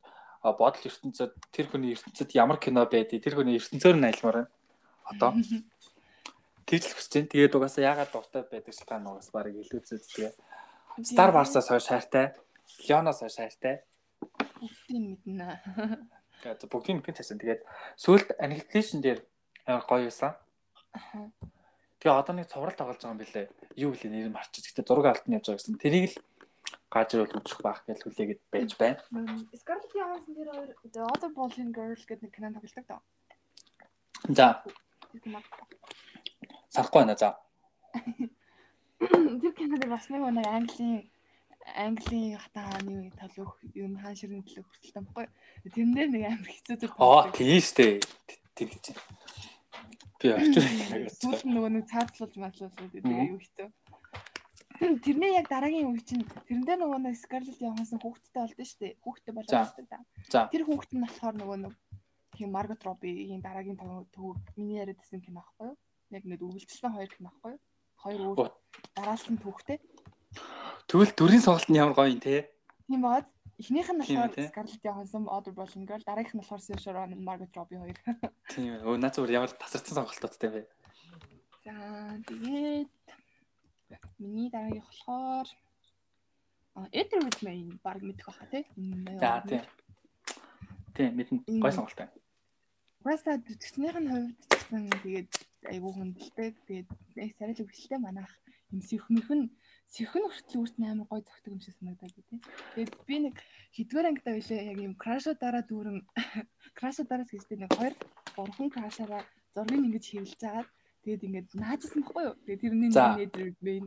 Speaker 1: а, бодол ертөнцөд тэр хүний ертөнцөд ямар кино байдгийг тэр хүний ертөнцөөр нь айлмаар байна. Одоо тэгж л хүсэж байна. Тэгээд угаасаа яагаад дуртай байдаг шалтгаан нь угаас барыг илүү зүйтэй. Star Wars-аас хойш хайртай, Leon-аас хойш хайртай.
Speaker 2: бүгдийг мэднэ.
Speaker 1: Тэгээд за бүгдийн мэдэн цаасан. Тэгээд сүүлд animation дээр амар гоё юусан.
Speaker 2: Аха.
Speaker 1: Тэгээ одоо нэг цуврал тоглож байгаа юм билээ. Юу вэ нэр нь марччих. Гэтэ зураг алт нь явж байгаа гэсэн. Тэрийг л гаж ирүүл үзэх байх гэж хүлээгээд байж байна.
Speaker 3: Scarlett Johansson тэр хоёр
Speaker 2: The Other Bowling Girl гэдэг нэг кино тоглодог доо.
Speaker 1: За,
Speaker 2: Тэр кино.
Speaker 1: санахгүй байна за.
Speaker 2: тэр кино дээр бас нэг нэг Английн Английн хатааны толгойх юм хаан ширэн төлөв хүртэл тамхгүй. Тэрнээр нэг амар хэцүү зүйл
Speaker 1: Аа,
Speaker 2: болсон.
Speaker 1: тийм штэ. Тэр гэж. Би орчуулах юм
Speaker 2: Сүүл
Speaker 1: байна.
Speaker 2: нь нөгөө нэг цаацлуулж маацлуулж гэдэг
Speaker 1: Мгм.
Speaker 2: аюу хэцүү. Тэрний яг дараагийн үе чинь тэрэндээ нөгөө нэг Scarlett Johansson хүүхэдтэй болдсон шүү дээ. Хүүхэдтэй
Speaker 1: За.
Speaker 2: болсон шүү дээ.
Speaker 1: За.
Speaker 2: Тэр хүүхэд нь болохоор нөгөө нэг тийм Margot Robbie-ийн дараагийн тав- төв миний яриад байсан кино аахгүй юу? Яг нэг үргэлжлэлсэн хоёр кино аахгүй юу? Хоёр
Speaker 1: Оо.
Speaker 2: өөр дараалсан түүхтэй.
Speaker 1: Тэгвэл дүрийн сонголт нь ямар гоё юм те.
Speaker 2: Тийм багт эхнийх нь
Speaker 1: Тийм
Speaker 2: болохоор
Speaker 1: тий.
Speaker 2: Scarlett Johansson, Audrey Hepburn гэл дараагийнх нь болохоор Saoirse Ronan, Margot Robbie хоёр.
Speaker 1: Тийм. Өө наа зүгээр ямар тасарсан сонголтуудтай вэ?
Speaker 2: За тэгээд миний дараагийнх болохоор а Эдэр Ридмейн баг мэдэх баха тий.
Speaker 1: За, тийм. Тийм, мэдэн гоё сонголт байна.
Speaker 2: Угаасаа төчнийх нь хувьд ч гэсэн тэгээд айгүй хүндэлтэй. Тэгээд нэг сарил өгчлээ манайх юм сэрхмэх нь сэрхэн хүртэл үрт амар гой зөгтөг юм шиг санагдаад би тий. Тэгээд би нэг хэдгээр ангитай байлаа яг юм крашо дараа дүүрэн крашо дараас гэжтэй нэг хоёр гурван крашаараа зургийг ингэж хэвлж агаад тэгээд ингэж наажсан байхгүй юу. Тэгээд тэрний
Speaker 1: За.
Speaker 2: нэг нэдэр бэйн.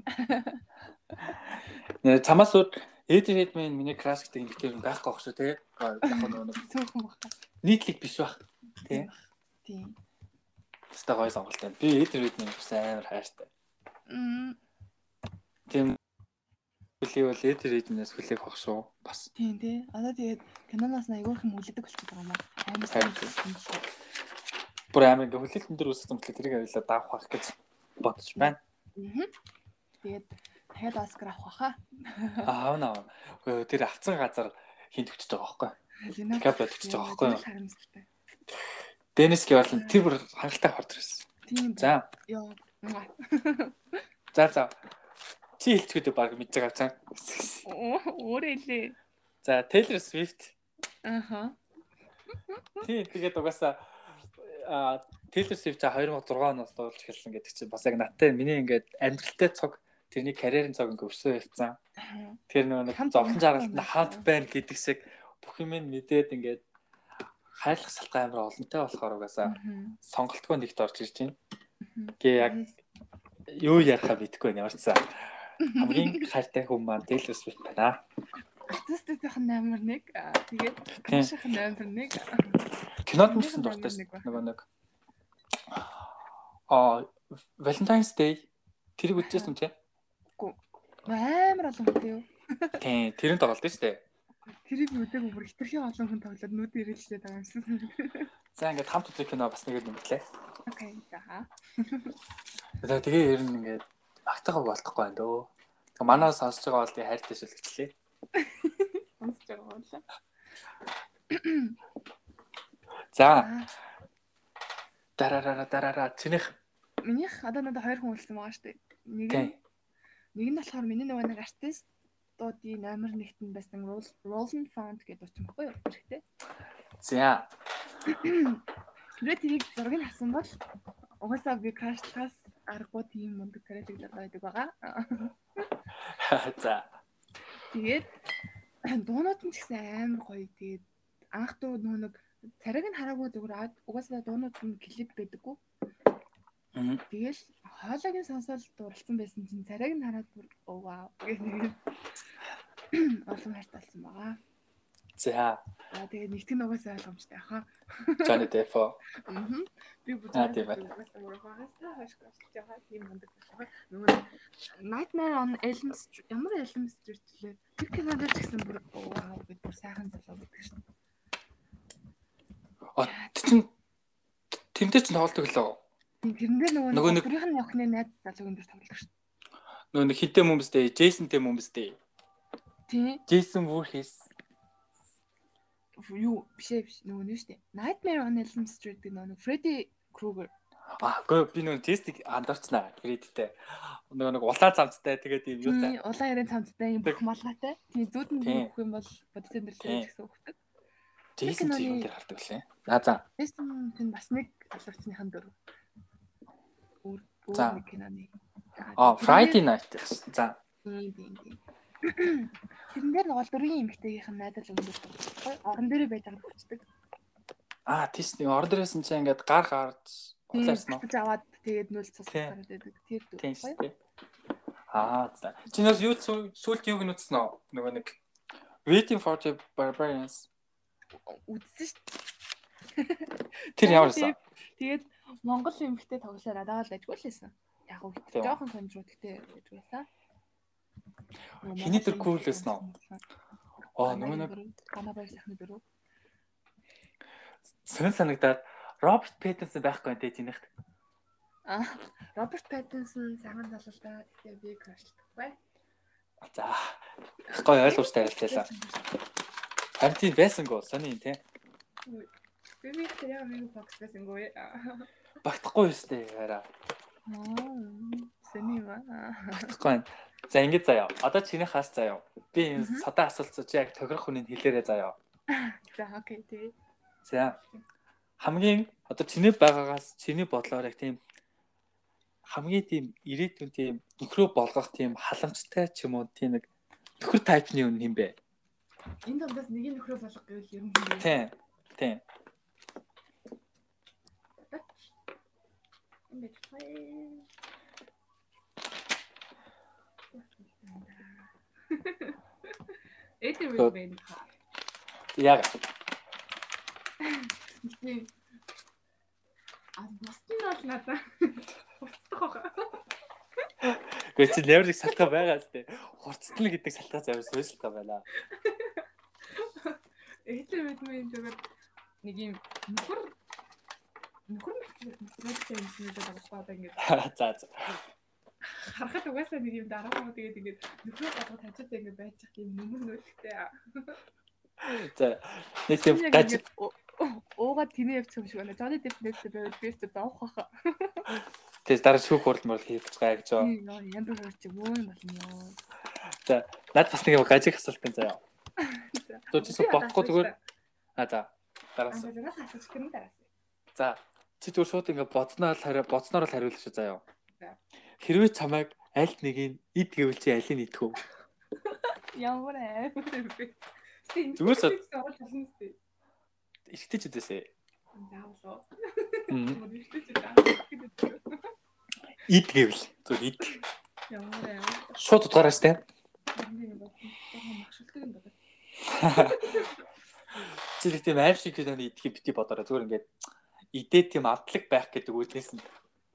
Speaker 1: Нэ, Цамаас үүд Эдэр Хедмен миний краш гэдэг ингэтэй юм байхгүй байх шүү те. Яг нөгөө нэг
Speaker 2: Цөөхөн баха.
Speaker 1: нийтлэг биш байх. Тийм.
Speaker 2: Тийм.
Speaker 1: Тэстэй гоё сонголт байна. Би Эдэр Хедмен амар хайртай.
Speaker 2: Мм,
Speaker 1: Тийм. Хүлээ бол Эдэр Хедмнээс хүлээх бах шүү. Бас.
Speaker 2: Тийм тий. Одоо тэгээд киноноос аягүй хэм үлддэг болчиход байгаа юм аа. Амар
Speaker 1: Харин тий. Бүр амар ингээ хүлээлтэн дээр үсэх юм болохоор тэрийг авилаа даавах байх гэж бодож байна.
Speaker 2: Аа. Тэгээд дахиад Оскар авах хаа.
Speaker 1: Аа, аав наа. Тэр авцсан газар хинт өчөж байгаа байхгүй.
Speaker 2: Леонардо
Speaker 1: Дикаприо төгсөж байгаа байхгүй юу?
Speaker 2: харамсалтай.
Speaker 1: Денис Геварлын тэр бүр хангалттай хорд ирсэн.
Speaker 2: Тийм.
Speaker 1: За.
Speaker 2: Йоо. Нугаа.
Speaker 1: За за. Чи хэлцгээдээ баг мэдж байгаа цаа.
Speaker 2: Өөрөө хэлээ.
Speaker 1: За, Taylor Swift.
Speaker 2: Аха.
Speaker 1: Тий, тэгээд угаасаа а Taylor Swift за 2006 оноос дуулж эхэлсэн гэдэг чинь бас яг надтай миний ингээд амьдралтай цог тэрний карьерийн цог ингээд өсөө явцсан. Тэр нөгөө нэг
Speaker 2: Хамт
Speaker 1: зовлон
Speaker 2: байна.
Speaker 1: жаргалтай хамт байна гэдэг шиг бүх юм нь мэдээд ингээд хайрлах салхай амар олонтой болохоор угаасаа сонголтгүй нэгт орж ирж байна. Гэ яг юу ярихаа мэдэхгүй байна ямар ч сан. Хамгийн хайртай хүн маань Taylor Swift байна.
Speaker 2: артистуудын номер 1, тэгээд
Speaker 1: Тийм.
Speaker 2: гаших номер 1.
Speaker 1: Кинод нь ч гэсэн дуртай шүү. дээ. Нөгөө нэг аа Valentine's Day тэр үзчихсэн тий.
Speaker 2: Амар олон хүнтэй юу?
Speaker 1: Тийм, тэрэнд тоглолт шүү дээ.
Speaker 2: Тэрийг үдэг өөр хитрхийн олон хүн тоглоод нүд ирэлжтэй байгаа юм шиг.
Speaker 1: За ингээд хамт үзэх кино бас нэгээр нэмтлээ.
Speaker 2: Окей. За.
Speaker 1: За тэгээ ер нь ингээд багтахаг болтохгүй байна дөө. Тэгээ манай сонсож байгаа бол тий хайртай шүлгэлээ.
Speaker 2: Сонсож байгаа болоо.
Speaker 1: За
Speaker 2: Аа.
Speaker 1: дараараа дараараа чинийх
Speaker 2: Минийх одоо надад хоёр хүн үлдсэн байгаа шүү дээ. Нэг
Speaker 1: тий
Speaker 2: нь нэг нь болохоор миний нөгөө нэг артист дуудын номер 1-т нь байсан Roll- Roland Font гэдэг учраас баггүй юу? Хэрэгтэй.
Speaker 1: За
Speaker 2: Тэрээ тэрийг зургийг нь авсан бол угаасаа би крашлахаас аргагүй тийм мундаг царайлаг байдаг байгаа.
Speaker 1: за
Speaker 2: Тэгээд дуунууд нь ч гэсэн амар гоё. Тэгээд анх дуу нөгөө нэг царайг нь хараагүй зүгээр аад- угаасаа дуунууд нь клип байдаггүй.
Speaker 1: Мгм.
Speaker 2: Тэгэл хоолойгийн сонсоол дурлцсан байсан чинь царайг нь хараад бүр оо вау гэх нэг олон хайртай болсон байгаа.
Speaker 1: за
Speaker 2: Аа тэгээд нэгтгэн нугаас ойлгомжтой хаа.
Speaker 1: Johnny Depp
Speaker 2: Аа. Би бүр
Speaker 1: Аа, тийм байна.
Speaker 2: Угаасаа хашгүй байгаа тийм мундаг байна. Нөгөө Nightmare on Elm Street ямар Elm Street лээ. Тэр кинод ч гэсэн бүр оо вау гэдэг бүр сайхан залуу гэдэг шүү дээ.
Speaker 1: Оо, тэр чин тэмдэгч нь тоглолт өглөө.
Speaker 2: Тийм, Тэрнээр нөгөө
Speaker 1: Нөгөө нэг-
Speaker 2: тэрийнх нь охны найз залуугийн дээр тоглож шүү дээ.
Speaker 1: Нөгөө нэг хитэ хүмүүстэй, Джейсонтэй хүмүүстэй.
Speaker 2: Тийм.
Speaker 1: Джейсон Вурхис.
Speaker 2: Юу биш ээ биш нөгөө нь шүү дээ. Nightmare on Elm Street гэдэг нөгөө Freddy Krueger.
Speaker 1: Аа, гоо би нөгөө Джейстиг андарчнаа. Кредиттэй. Нөгөө нэг улаан замцтай тэгээд юм юу та.
Speaker 2: Тийм, улаан ярийн цамцтай юм бүх малгайтай. Тийм, зүуд нь
Speaker 1: Тийм.
Speaker 2: бүх юм бол бодит амьдралтай
Speaker 1: Тийм.
Speaker 2: ч гэсэн хөвгдөг.
Speaker 1: Джейсон чи юм дээр хардаг лээ. За за.
Speaker 2: Бэсэн тэн бас нэг алгацныхан дөрөв. Өөр өөр
Speaker 1: За.
Speaker 2: нэг киноны.
Speaker 1: Аа, Friday Night. За.
Speaker 2: Тэрнээр нэг гол дөрвийн эмэгтэйгийнх нь найдал өндөр. Орон дээрээ байж байгааг хүчдэг.
Speaker 1: Аа, тийс нэг ордер байсан чи ингээд гар гарч улаарсан уу?
Speaker 2: Тэгж аваад тэгээд нөл цус
Speaker 1: Тийм.
Speaker 2: гараад байдаг. Тэр дөрөв.
Speaker 1: Тийм шүү дээ. Аа за. Чи нас юу сүү- сүүлд юу гэнэ үү? Нөгөө нэг Waiting for the Barbarians.
Speaker 4: Үзсэн шүү.
Speaker 1: Тэр ямар байсан?
Speaker 4: Тэгээд Монгол эмэгтэй тоглолоо надад л ажгүй л байсан. Яг уу
Speaker 1: Тийм.
Speaker 4: жоохон сонирхолтой гэж байсан.
Speaker 1: Хиний тэр cool байсан уу? Оо нөгөө нэг
Speaker 4: гана баяр сайхны дөрөв.
Speaker 1: сонир санагдаад Роберт Пэттерсон байхгүй нэ тэнийхт.
Speaker 4: Аа,
Speaker 2: Роберт Паттинсон цагаан залуутаа тэгээ би крашилдаг бай.
Speaker 1: За. Гой ойлгуустай арилжаалаа. Харин тийм байсангүй бол сони тий.
Speaker 2: Би би тэр яа нэг бокс байсан гүй. Аа.
Speaker 1: Багтахгүй юу сте яараа.
Speaker 4: сэний ба.
Speaker 1: Багтахгүй байна. За ингэж заяа. Одоо чиний хаас заяа. Би энэ
Speaker 4: Мгм.
Speaker 1: садаа асуулцаа чи яг тохирох хүнийг хэлээрэ заяа.
Speaker 4: За, окей, тэгээ.
Speaker 1: За. Хамгийн одоо чиний байгаагаас чиний бодлоор яг тийм хамгийн тийм ирээдүйн тийм нөхрөө болгох тийм халамжтай ч юм уу тийм нэг нөхөр тайпны юм юм бэ.
Speaker 2: Энд дондоос нэг нь нөхрөө болох гэвэл юм бэ?
Speaker 1: Тийм. Тийм.
Speaker 2: Юм бэ? Хөөе. Эдэр
Speaker 1: Тоо-
Speaker 2: үү бэ?
Speaker 1: Яг.
Speaker 2: Тийм. А бусд нь бол надаа устдах واخа.
Speaker 1: Гэхдээ чи леверлик салтаа байгаа зү. Хурцтал гэдэг салтаа завьсан салтаа байна.
Speaker 2: Эдэр мэдмэн зүгээр нэг юм нөхөр нөхөр мэт нөхөртэй юм шиг байгаа байхгүй ингээд
Speaker 1: За за.
Speaker 2: харахад угаасаа нэг юм дараагаа тэгээд ингээд нөхрөө болгоод хажуудаа ингээд байж их юм нэмэр нөлттэй.
Speaker 1: За. Нэг тийм гаж
Speaker 4: Ууга тэнэ явчих юм шиг байна. Johnny Depp нэгтэй байвал би өөртөө доох واخа.
Speaker 1: тийм дараа шүүх хурал мөрөл хийх гэж байгаа гэж. байна.
Speaker 4: Яа, ямар хурц юм болно ёо.
Speaker 1: Наад бас нэг гажиг асуулт энэ заяа.
Speaker 2: За.
Speaker 1: Зөв чи зөв бодохгүй зүгээр. А за. Дараас.
Speaker 2: Асуултаас асууж гэнэ дараас.
Speaker 1: За. Чи зүгээр шууд ингээ бодсноор л хариу бодсноор л хариулах шүү заяа.
Speaker 2: За.
Speaker 1: Хэрвээ чамайг аль нэгийг ид гэвэл чи аль нь идэх вэ?
Speaker 4: Ямар аа.
Speaker 2: Тийм.
Speaker 1: Зүгээр сод.
Speaker 2: орол болно үстэй.
Speaker 1: Ихтэй ч үдээсээ.
Speaker 2: Заавал.
Speaker 1: Мм.
Speaker 2: Мөн ихтэй ч заавал.
Speaker 1: Ид гэвэл зөв ид.
Speaker 2: Ямар аа.
Speaker 1: Шууд утгаараа штэ.
Speaker 2: Хамгийн нэг болсон. Бага махшилдаг юм байна.
Speaker 1: Чи тийм аим шиг киноны идэхийг бити бодороо зүгээр ингээд идээ тийм амтлаг байх гэдэг үгээс нь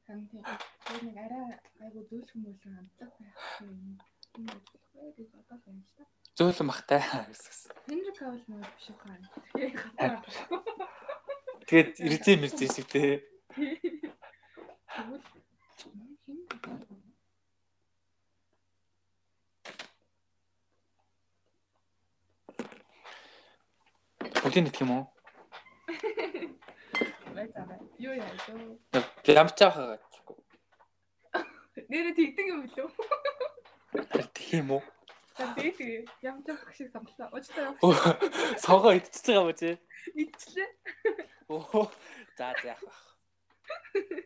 Speaker 2: Харин тийм. Тэр нэг арай айгу зөөлх хүмүүлийн амтлаг байх юм. Тийм байх. Тэгээд одоо л юм шиг.
Speaker 1: зөөлөн бахтай гэсэн.
Speaker 2: Хенри Кавл муу биш үү хаана. Тэгээд гадаа.
Speaker 1: Тэгээд ирзэн мэрзэн шиг тий.
Speaker 2: Тэгвэл мөн хин гэдэг.
Speaker 1: Бүгдийн идэх юм уу?
Speaker 2: Бай цаа. Юу яа юу.
Speaker 1: Ямчаа хагаад.
Speaker 2: Нэрэ тэгдэг юм билүү?
Speaker 1: Тэгэх юм уу?
Speaker 2: За тэгээ тэгээ. Ямч ах шиг сонголоо. Уучлаарай.
Speaker 1: Өө, Сонгоо идчихэж байгаа юм чи.
Speaker 2: Идчлээ.
Speaker 1: Оо. За за яах вэ?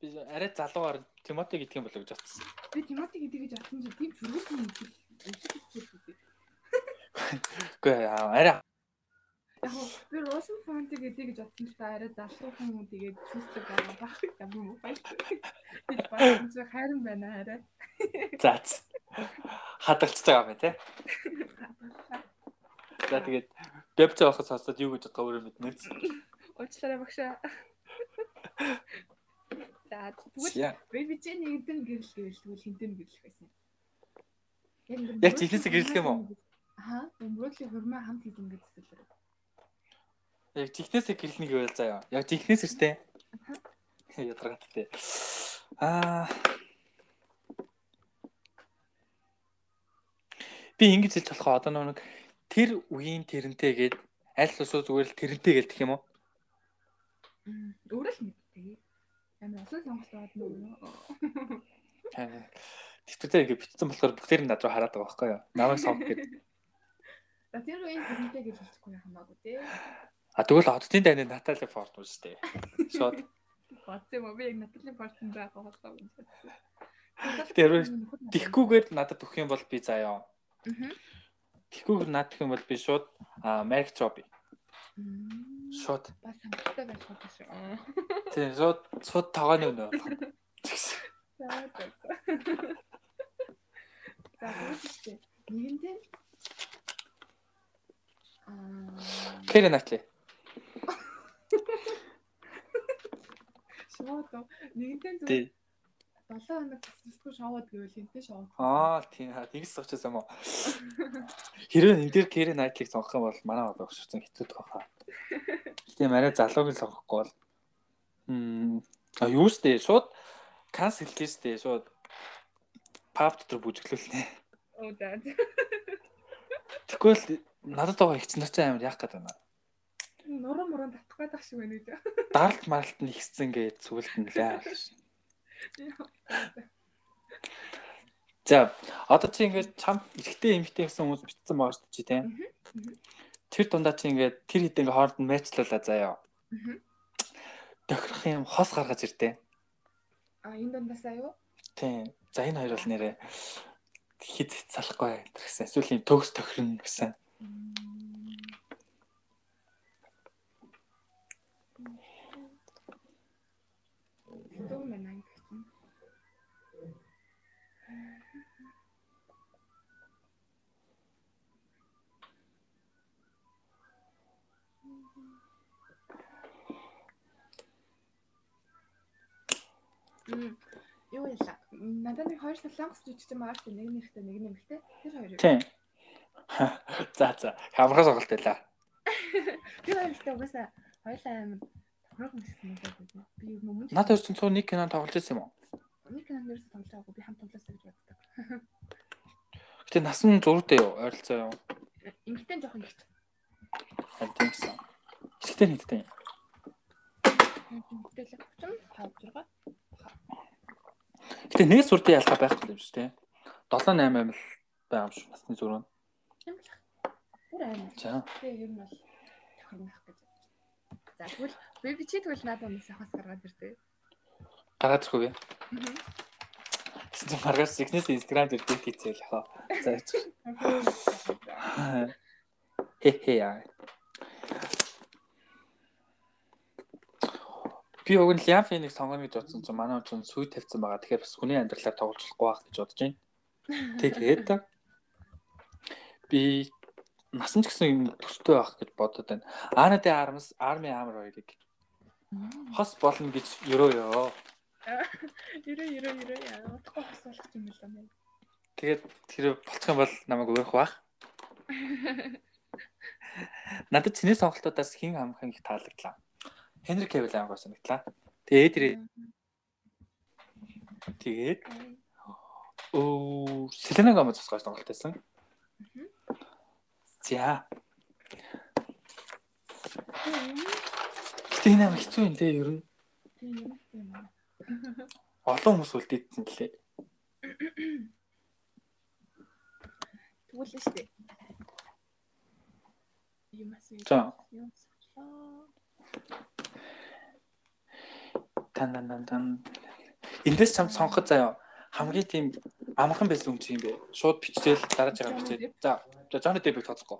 Speaker 1: Би зөв арай залуугаар Тимоти гэдэг юм болов гэж бодсон.
Speaker 2: Би Тимоти гэдэг гэж атсан чи тийм зүрхний юм шиг өмсөж хэлсэн үү?
Speaker 1: Үгүй аа, арай
Speaker 2: Яг нь би Russian font гэдэг гэж атсан чи та арай залуу хүн тэгээд чүсдэг байгаа бах юм уу? Би баасан чи хайран байна арай.
Speaker 1: за. за. Хадгалчихж байгаа юм тий. За тэгээд бямч авахаас хасаад юу гэж бодгоо өөрөө мэднэ.
Speaker 4: Уучлаарай багшаа. За, тэгвэл
Speaker 1: Яа.
Speaker 2: Baby Jane нэгдэн гэрэл гэрэл тэгвэл хинтэн гэрэлх байсан. Яг ингэ
Speaker 1: Яг жилээсээ гэрэлэх юм уу?
Speaker 2: Аа, өмрөөлийн хурмаа хамт хийх гэж төсөөлөв.
Speaker 1: Яг жихнээсээ гэрлэнийг байл заяа. Яг жихнээс өчтэй. Ядрагаттай. Аа. Би ингэж хэлж болох одоо нөгөө нэг тэр үеийн тэрнтэйгээд аль усуу зүгээр л тэрнтэй гэлдэх юм уу?
Speaker 2: Өөрөө л мэдтээ. Амар олон сонголт байгаа юм уу?
Speaker 1: Тэгтээ ингэ битсэн болохоор бүгдээр нь над руу хараад байгаа байхгүй юу? Намайг сонх гэдэг.
Speaker 2: За тэр үеийн хэрэгтэй гэж хэлчихгүй хамаагүй тий.
Speaker 1: А тэгвэл оддын дайны Натали Форд үү шүү дээ. Шууд
Speaker 2: Бодсон юм уу? Би яг Натали Портон байгаа болов гэж бодсон.
Speaker 1: Тэр үе Тихгүүгээд надад өгөх юм бол би заяа.
Speaker 4: Мгм.
Speaker 1: Тихгүүгээр надад өгөх юм бол би шууд аа, Mark Chopin. Шууд
Speaker 2: бас хамттай байх гэж шүү.
Speaker 1: тийм шууд шууд тогооны өнөө болох.
Speaker 2: За За за. За бүгдтэй. Нэгэндээ аа
Speaker 1: Кэри Натли.
Speaker 2: шууд нэгэндээ зөв
Speaker 1: Тий.
Speaker 2: 7 хоног тасралтгүй шоуд гэвэл хинтээ шоуд.
Speaker 1: Аа тийм хаа тэгс сочихсан юм уу. Хэрвээ энэ дээр Кэри Найтлыг сонгох юм бол манай одоо өгсөн хэцүүдх байхаа. Тийм арай залууг л сонгохгүй бол м а юу штэ шууд канс хэлээ штэ шууд пап дотор бүжиглүүлнэ.
Speaker 2: Оо за.
Speaker 1: Тэгвэл надад байгаа ихцэн нартай амар яах гээд байна.
Speaker 2: Нуруу муруу татах байдаг шиг байна үү?
Speaker 1: Даралт маралт нь ихсэн гэж сүгэлт нь лээ. За одоо чи ингээд чам эргэтэй эмгтэй гэсэн хүмүүс битсэн байгаа шүү дээ тийм. Тэр дундаа чи ингээд тэр хэд ингээд хооронд нь мэтлүүлээ заяа.
Speaker 2: Мгм.
Speaker 1: Тохирох юм хос гаргаж ирдээ.
Speaker 2: А энэ дундаасаа юу?
Speaker 1: Тийм. За энэ хоёр бол нэрээ хид цалахгүй энэ гэсэн. Эсвэл юм төгс тохирно гэсэн.
Speaker 2: Дөө мэн анги чинь. Мм. Юу яла? Надад нэг хоёр солонгос жүжигчин байгаа шүү. дээ. Нэг нь ихтэй, нэг нь эмэгтэй. Тэр хоёрыг.
Speaker 1: Тийм. За за хамрах сонголт байлаа.
Speaker 2: Тэр хоёртай угаасаа хоёлаа амар тохирох юм шиг санагдаад байна. Би юу мөн
Speaker 1: Наад хоёр чинь 101 кино тоглож байсан юм уу?
Speaker 2: нэг кинонд ерөөсө тоглоагүй би хамт тоглосоо гэж боддог.
Speaker 1: Гэтэ нас нь зурдээ юу? Ойролцоо юу?
Speaker 2: Эмэгтэй нь жоохон ихт.
Speaker 1: Харин тийм гэсэн. Эхтэй нэгтэй.
Speaker 2: Эмэгтэй л 35 6.
Speaker 1: Гэтэ нэг сурдын ялгаа байхгүй юм шүү, тийм. 7 8 амил байгаа юм шүү. Насны зурв.
Speaker 2: Тийм л. Бүр амар.
Speaker 1: За.
Speaker 2: Тэгээ ер нь бол тохирнах гэж. За тэгвэл би би чи тэгвэл надад юмс хас гаргаад ирдээ.
Speaker 1: Гараад ирэхгүй би. Чи маргааш зигнээс инстаграм дээр дээд хийцээл яхаа. За. Хе хе яа. Би өгн Лян Феник сонгоно гэж бодсон чинь манай хүн сүй тавьсан байгаа. Тэгэхээр бас хүний амьдралаар тоглоулахгүй байх гэж бодож байна. Тэгээд би насан ч гэсэн юм төстэй байх гэж бодод байна. Арнад Армс, Арми Амар хоёрыг хос болно гэж ёроо ёо.
Speaker 2: Ерөө ерөө ерөө яа. Утгагүй хас болох юм л байна.
Speaker 1: Тэгээд тэр болчих юм бол намайг өөрөх бах. Надад чиний сонголтуудаас хэн амхан их таалагдлаа. Хенри Кевил амгаа санагдлаа. Тэгээд тэр тэгээд оо Селена Гомес бас гаш сонголт байсан. За. Гэтэ энэ амар хэцүү юм те ер нь.
Speaker 2: Тийм юм тийм юм.
Speaker 1: Олон хүмүүс үлдээдсэн лээ.
Speaker 2: Тэгвэл штэ. Юмас юм.
Speaker 1: За.
Speaker 2: Юмс. Аа.
Speaker 1: Тан тан тан тан. Эндээс чамд сонгоход заяа хамгийн тийм амархан байсан хүн чинь юм бэ. Шууд бичээл дарааж байгаа бичээл. За. За Джонни Депиг тооцохгүй.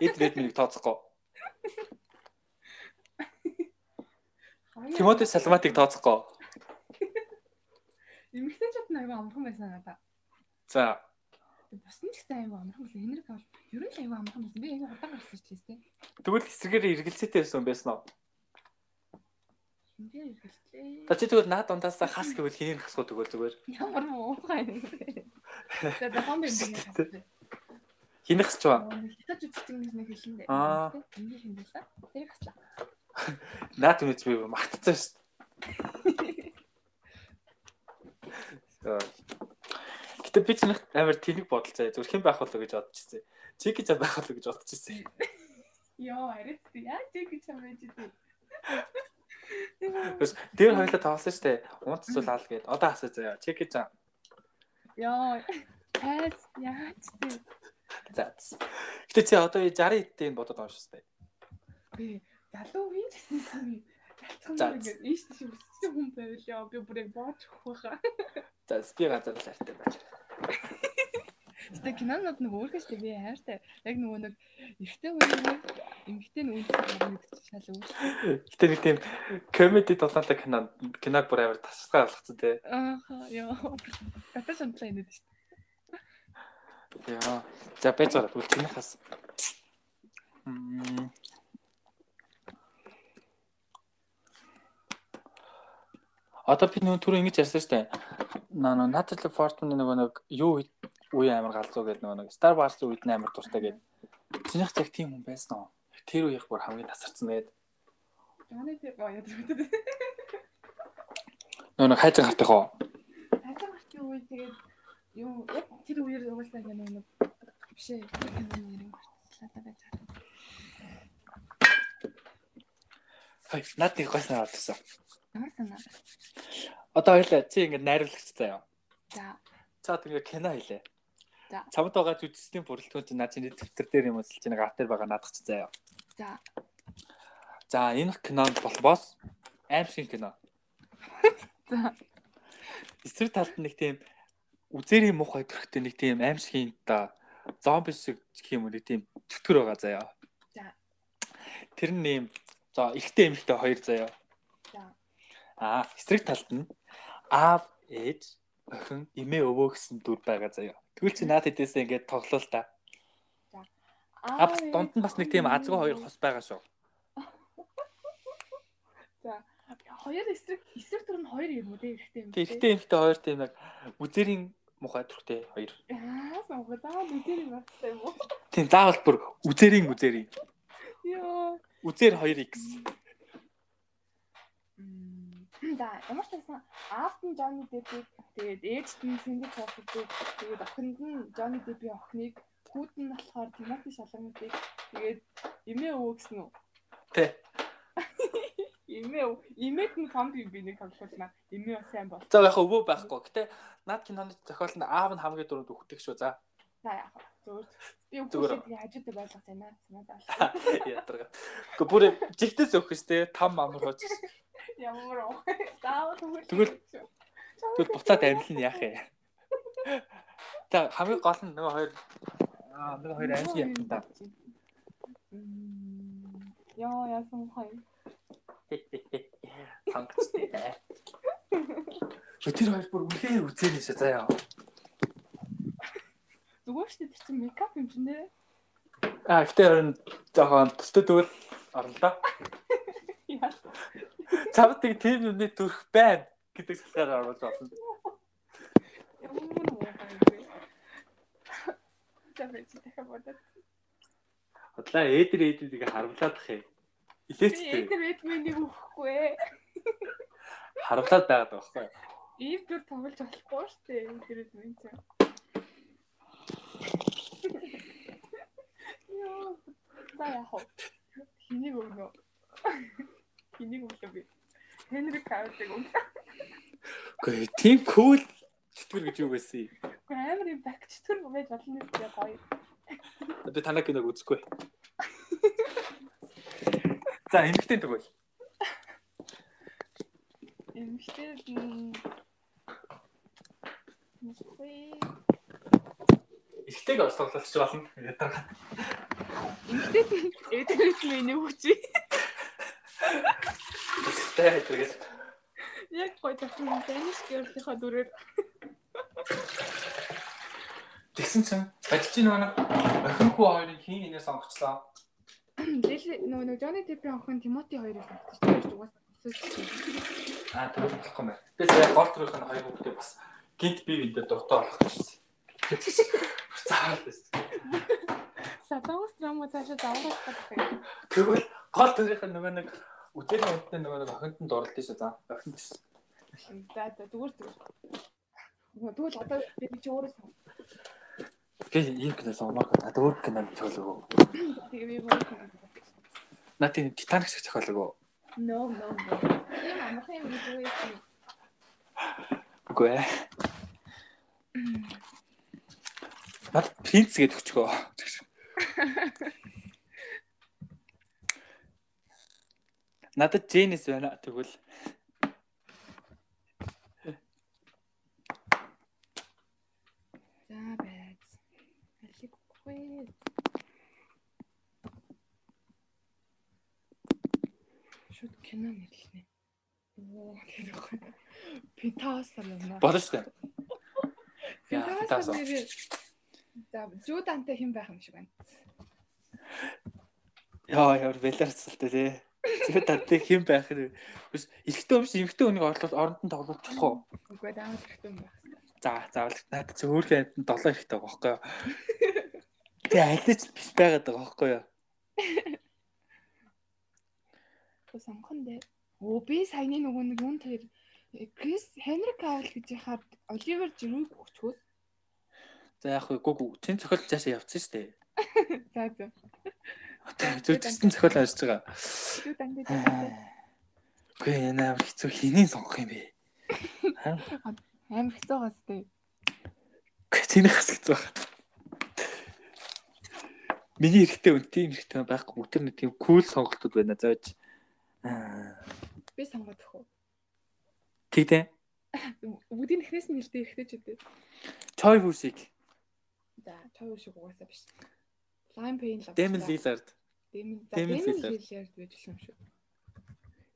Speaker 1: Эд Редмиг тооцохгүй. Тимоти Салматыг тооцохгүй.
Speaker 2: Эмэгтэй ч аягүй амархан байсан надаа.
Speaker 1: За.
Speaker 2: Бус нь ч гэсэн аягүй амархан байсан. Энерг бол ер нь л аягүй амархан байсан. Би аягүй хурдан гарсан ч гэсэн.
Speaker 1: Тэгвэл эсрэгээр эргэлзээтэй байсан юм байсан уу?
Speaker 2: Эндээ хэрэглээ.
Speaker 1: За чи тэгвэл наад ундаасаа хас гэвэл хинээр хасгүй тэгвэл зүгээр.
Speaker 2: Ямар муухай юм бэ? За дахан би юм байна.
Speaker 1: Хинээр хасч байгаа.
Speaker 2: Хятад үтчихсэн гэж нэг хэлэн дээ.
Speaker 1: Аа.
Speaker 2: Эндээ хэмдэлээ. Тэр хаслаа.
Speaker 1: Наад түнэч би мартцсан шүү дээ. Гэтэ би ч нэг амар тэнэг бодол заяа зүрхэн байх болоо гэж бодож ирсэн. Чи гэж байх болоо гэж бодож ирсэн.
Speaker 2: Йоо, арит би яа чи гэж юм байж дээ.
Speaker 1: Бас дээр хоёлаа тоглосон шүү дээ. Унтс бол аа л гээд одоо хасаа заяа. Чи гэж аа.
Speaker 2: Йоо. Тас яач дээ.
Speaker 1: За. Гэтэ чи одоо 60 хэдтэй энэ бодод байгаа шүү дээ.
Speaker 2: Би залуу хүн ч гэсэн юм. Ялцхан
Speaker 1: За.
Speaker 2: ингээд ийш тийш өсчихсэн хүн байвал яа би бүрээ бооч өгөх байхаа.
Speaker 1: За, би газар л хайртай байна.
Speaker 5: Гэтэ кинонод нэг өөр гэж би хайртай. Яг нөгөө нэг эртний үеийн эмгтэй нь үйлдэл харагдаж шал өөр.
Speaker 1: Гэтэ нэг тийм комеди дулаантай кино киног бүр амар тасархай болгоцсон те.
Speaker 5: Аа ёо. Атас амтлаа инээд шүү дээ.
Speaker 1: Яа. За байж гараад үл чиний хас. Мм. Одоо би нөгөө түрүү ингэж ярьсан шүү дээ. Наа нөгөө Natalie Portman-ы нөгөө нэг юу үед- үе амар галзуу гэдэг нөгөө нэг Star Wars-ы үед нь амар дуртай гэдэг. Чинийх цаг тийм хүн байсан уу? Тэр үеийнх бүр хамгийн тасарсан гэдэг.
Speaker 2: Johnny Depp аа ядрагдав.
Speaker 1: Нөгөө нэг хайцаг хартах уу?
Speaker 2: Хажаа гартын үе тэгээд юу яг тэр үеэр угаасаа ингэ нэг биш ээ. Киноны нэрэн гарцлаа байж байгаа.
Speaker 1: Хай, наад нэг гой санаа болсон.
Speaker 2: Ямар санаа?
Speaker 1: Одоо хоёлаа чи ингэ найруулагч заяа.
Speaker 2: За.
Speaker 1: За одоо ингэ кино хийлээ.
Speaker 2: За.
Speaker 1: Чамд байгаа жүжигчдийн бүрэлдэхүүн чинь наад чиний дэвтэр дээр юм эсвэл чиний гартер байгаа наадах чи заяа.
Speaker 2: За.
Speaker 1: За энэ кинонд болбоос аим шиг кино.
Speaker 2: За.
Speaker 1: Эсрэг талд нь нэг тийм үзэрийн муухай төрхтэй нэг тийм аим шиг да зомби шиг юм уу нэг тийм чөтгөр байгаа заяа.
Speaker 2: За.
Speaker 1: Тэр нь юм за ихтэй эмэгтэй хоёр заяа.
Speaker 2: За.
Speaker 1: Аа эсрэг талд нь аав ээж охин эмээ өвөө гэсэн дүр байгаа заяа. Тэгвэл чи наад хэдээсээ ингээд тоглолоо л да. А бас донд нь бас нэг тийм азгүй хоёр хос байгаа шүү.
Speaker 2: Хоёр эсрэг эсрэг төр нь хоёр юм уу те ихтэй юм.
Speaker 1: Тэг ихтэй эмэгтэй хоёр тийм яг үзэрийн муухай төрхтэй хоёр.
Speaker 2: Аа сонгоцаа мэдэрийн багтай юм уу?
Speaker 1: Тийм заавал бүр үзэрийн үзэрийн
Speaker 2: Йоо.
Speaker 1: үзэр 2x.
Speaker 2: Мм. За ямар ч байсан аавд нь Johnny Depp-ийг тэгээд ээжд нь Cindy Crawford-ийг тэгээд охинд нь Johnny Depp-ийн охиныг хүүд нь болохоор Timothy Chalamet-ийг тэгээд эмээ өвөө гэсэн үү?
Speaker 1: Тэ.
Speaker 2: Эмээ өвөө. Эмээд нь фонд би нэг тоглуулна. Эмээ бас сайн бол.
Speaker 1: За яг өвөө байхгүй гэтээ над киноны зохиол нь аав нь хамгийн дөрөнд өгдөг шүү за.
Speaker 2: За яах вэ?
Speaker 1: Зүгээр.
Speaker 2: Зүгээр. Би өгөх тийм хажууд байлгах тайна. Санаа зовлоо.
Speaker 1: Ядарга. Гэхдээ бүр жигтэс өөх шүү дээ. Там амар хооч.
Speaker 2: Ямар уу. Заавал өгөх.
Speaker 1: Тэгвэл- Тэгвэл буцаад амил нь яах юм. За хамгийн гол нь нөгөө хоёр аа нөгөө хоёр амил юм да.
Speaker 2: Мм. Яа яасан хай.
Speaker 1: Хангацтай. Э, Тэр хоёр бүр үнхээр үзээнэ шээ за яа.
Speaker 2: Зүгээр шүү дээ тэр чинь мейкап юм чинь дээ.
Speaker 1: А гэтээ харин жоохон төстө тэгвэл орлоо.
Speaker 2: Яа.
Speaker 1: Цавд тийг тийм юмны төрх байна гэдэг салхаар оруулж олно.
Speaker 2: Ямар уу хай. Тэгвэл чи дахиад бодоод.
Speaker 1: Хотлаа эдэр эдэрийг харамлаадах юм. Илээч
Speaker 2: Би
Speaker 1: тийм
Speaker 2: интернетмэнийг өгөхгүй ээ.
Speaker 1: харамлаад байгаад байгаа байхгүй юу?
Speaker 2: Ийм төр тоглож болохгүй шүү дээ интернетмэн чинь. Яа. За яах вэ? Хинийг өгнө. Хинийг өгөх би. Хенри Кавлыг өгөх.
Speaker 1: Гэхдээ тийм кул чөтгөр гэж юу байсан юм?
Speaker 2: Гэхдээ амар юм багч төр байж болно гэж гоё.
Speaker 1: Одоо танаа киног үзэхгүй. За эмгтэн тэгвэл.
Speaker 2: Эмхтэй Мисгүй.
Speaker 1: Эхтэйг орж тоглолч болно. Ядарга.
Speaker 2: Эмхтэй эдгэрч миний хүчи.
Speaker 1: Эхтэй хэрэгээс.
Speaker 2: Яг гой тахсан Danish Girl-ийнхаа дүрээр
Speaker 1: Тэгсэн чинь бадчин нэг охин хүү хоёрын хин инээ сонгоцлоо.
Speaker 2: Лили нөгөө нөгөө Johnny Depp-ийн охин Timothy хоёрыг сонгосон шүү дээ. Угаасаа төсөөлж.
Speaker 1: Аа тэгвэл болохгүй мэн. Би сая гол төрхийн хоёр хүүхдээ бас гинт бие биендээ дуртай болох гэсэн. Заавал байсан.
Speaker 2: Сатаус драма цаашаа даврах гэдэг.
Speaker 1: Тэгвэл гол төрхийн нөгөө нэг үдэрийн үнтэй нөгөө нэг охинд нь дурлалтай шүү за. Охинд шүү.
Speaker 2: За за зүгээр зүгээр. Нөгөө тэгвэл одоо би чи өөрөө сонго.
Speaker 1: Тэгээ ийм кино сонгомоор гэдэг. Одоо өөр кино зөвлөгөө.
Speaker 2: Тэгээ би өөрөө сонго.
Speaker 1: Наа тийм Титаник шиг зохиолгөө.
Speaker 2: No no no. Ийм амархан юм гэж үү юм.
Speaker 1: Үгүй ээ. Наад принц гэдэг өчгөө. Надад Дженис байна тэгвэл.
Speaker 2: За байц. шууд кино нэрлэнэ. Оо тийм байхгүй. Питаусар юм аа.
Speaker 1: Болно шүү дээ. Яа,
Speaker 2: Питаусар
Speaker 1: Питаусар.
Speaker 2: нэрээ. За, Жудантай хэн байх юм шиг байна.
Speaker 1: Яа, ямар балерцалтай тий. Зөв татдаг хэн байх нь вэ? Бас эхтэн өмс эмхтэн өнийг орлол оронд нь тоглож болох уу?
Speaker 2: Үгүй ээ, амар хэрэгтэй юм байна.
Speaker 1: За, заавал надад зөвхөн амт нь долоо ихтэй байгаа байхгүй юу? Тэгээ алич биш байгаад байгаа байхгүй юу?
Speaker 2: Тэгвэл сонгоно дээ. Оо би саяны нөгөө нэг юм тэр э, Крис Хенрик Кавл гэж яхад Оливер Жирүүг өгчхөөс.
Speaker 1: За яг хөө гүг тэн цохол цаашаа явцсан шүү дээ.
Speaker 2: За за.
Speaker 1: Одоо зүтсэн цохол ажиллаж байгаа.
Speaker 2: Жудантай амар
Speaker 1: Үгүй энэ амар хэцүү хэнийг сонгох юм бэ?
Speaker 2: хэцүү гас дээ.
Speaker 1: Үгүй тэний хас хэцүү байна. Миний эрэгтэй үн тийм эрэгтэй хүн байхгүй бүгд нэг тийм кул сонголтууд байна зааж.
Speaker 2: Би сонгоод өгөх үү.
Speaker 1: Тэгтээ
Speaker 2: Бүгдийн эхнээс нь нэлээд хэрэгтэй ч үгүй.
Speaker 1: Choi Busik,
Speaker 2: За, тоо шиг угаасаа биш. Lime Pain л.
Speaker 1: Damon Lillard,
Speaker 2: Дэмэн
Speaker 1: Damon Lillard.
Speaker 2: Лилэрд байж л юм шүү.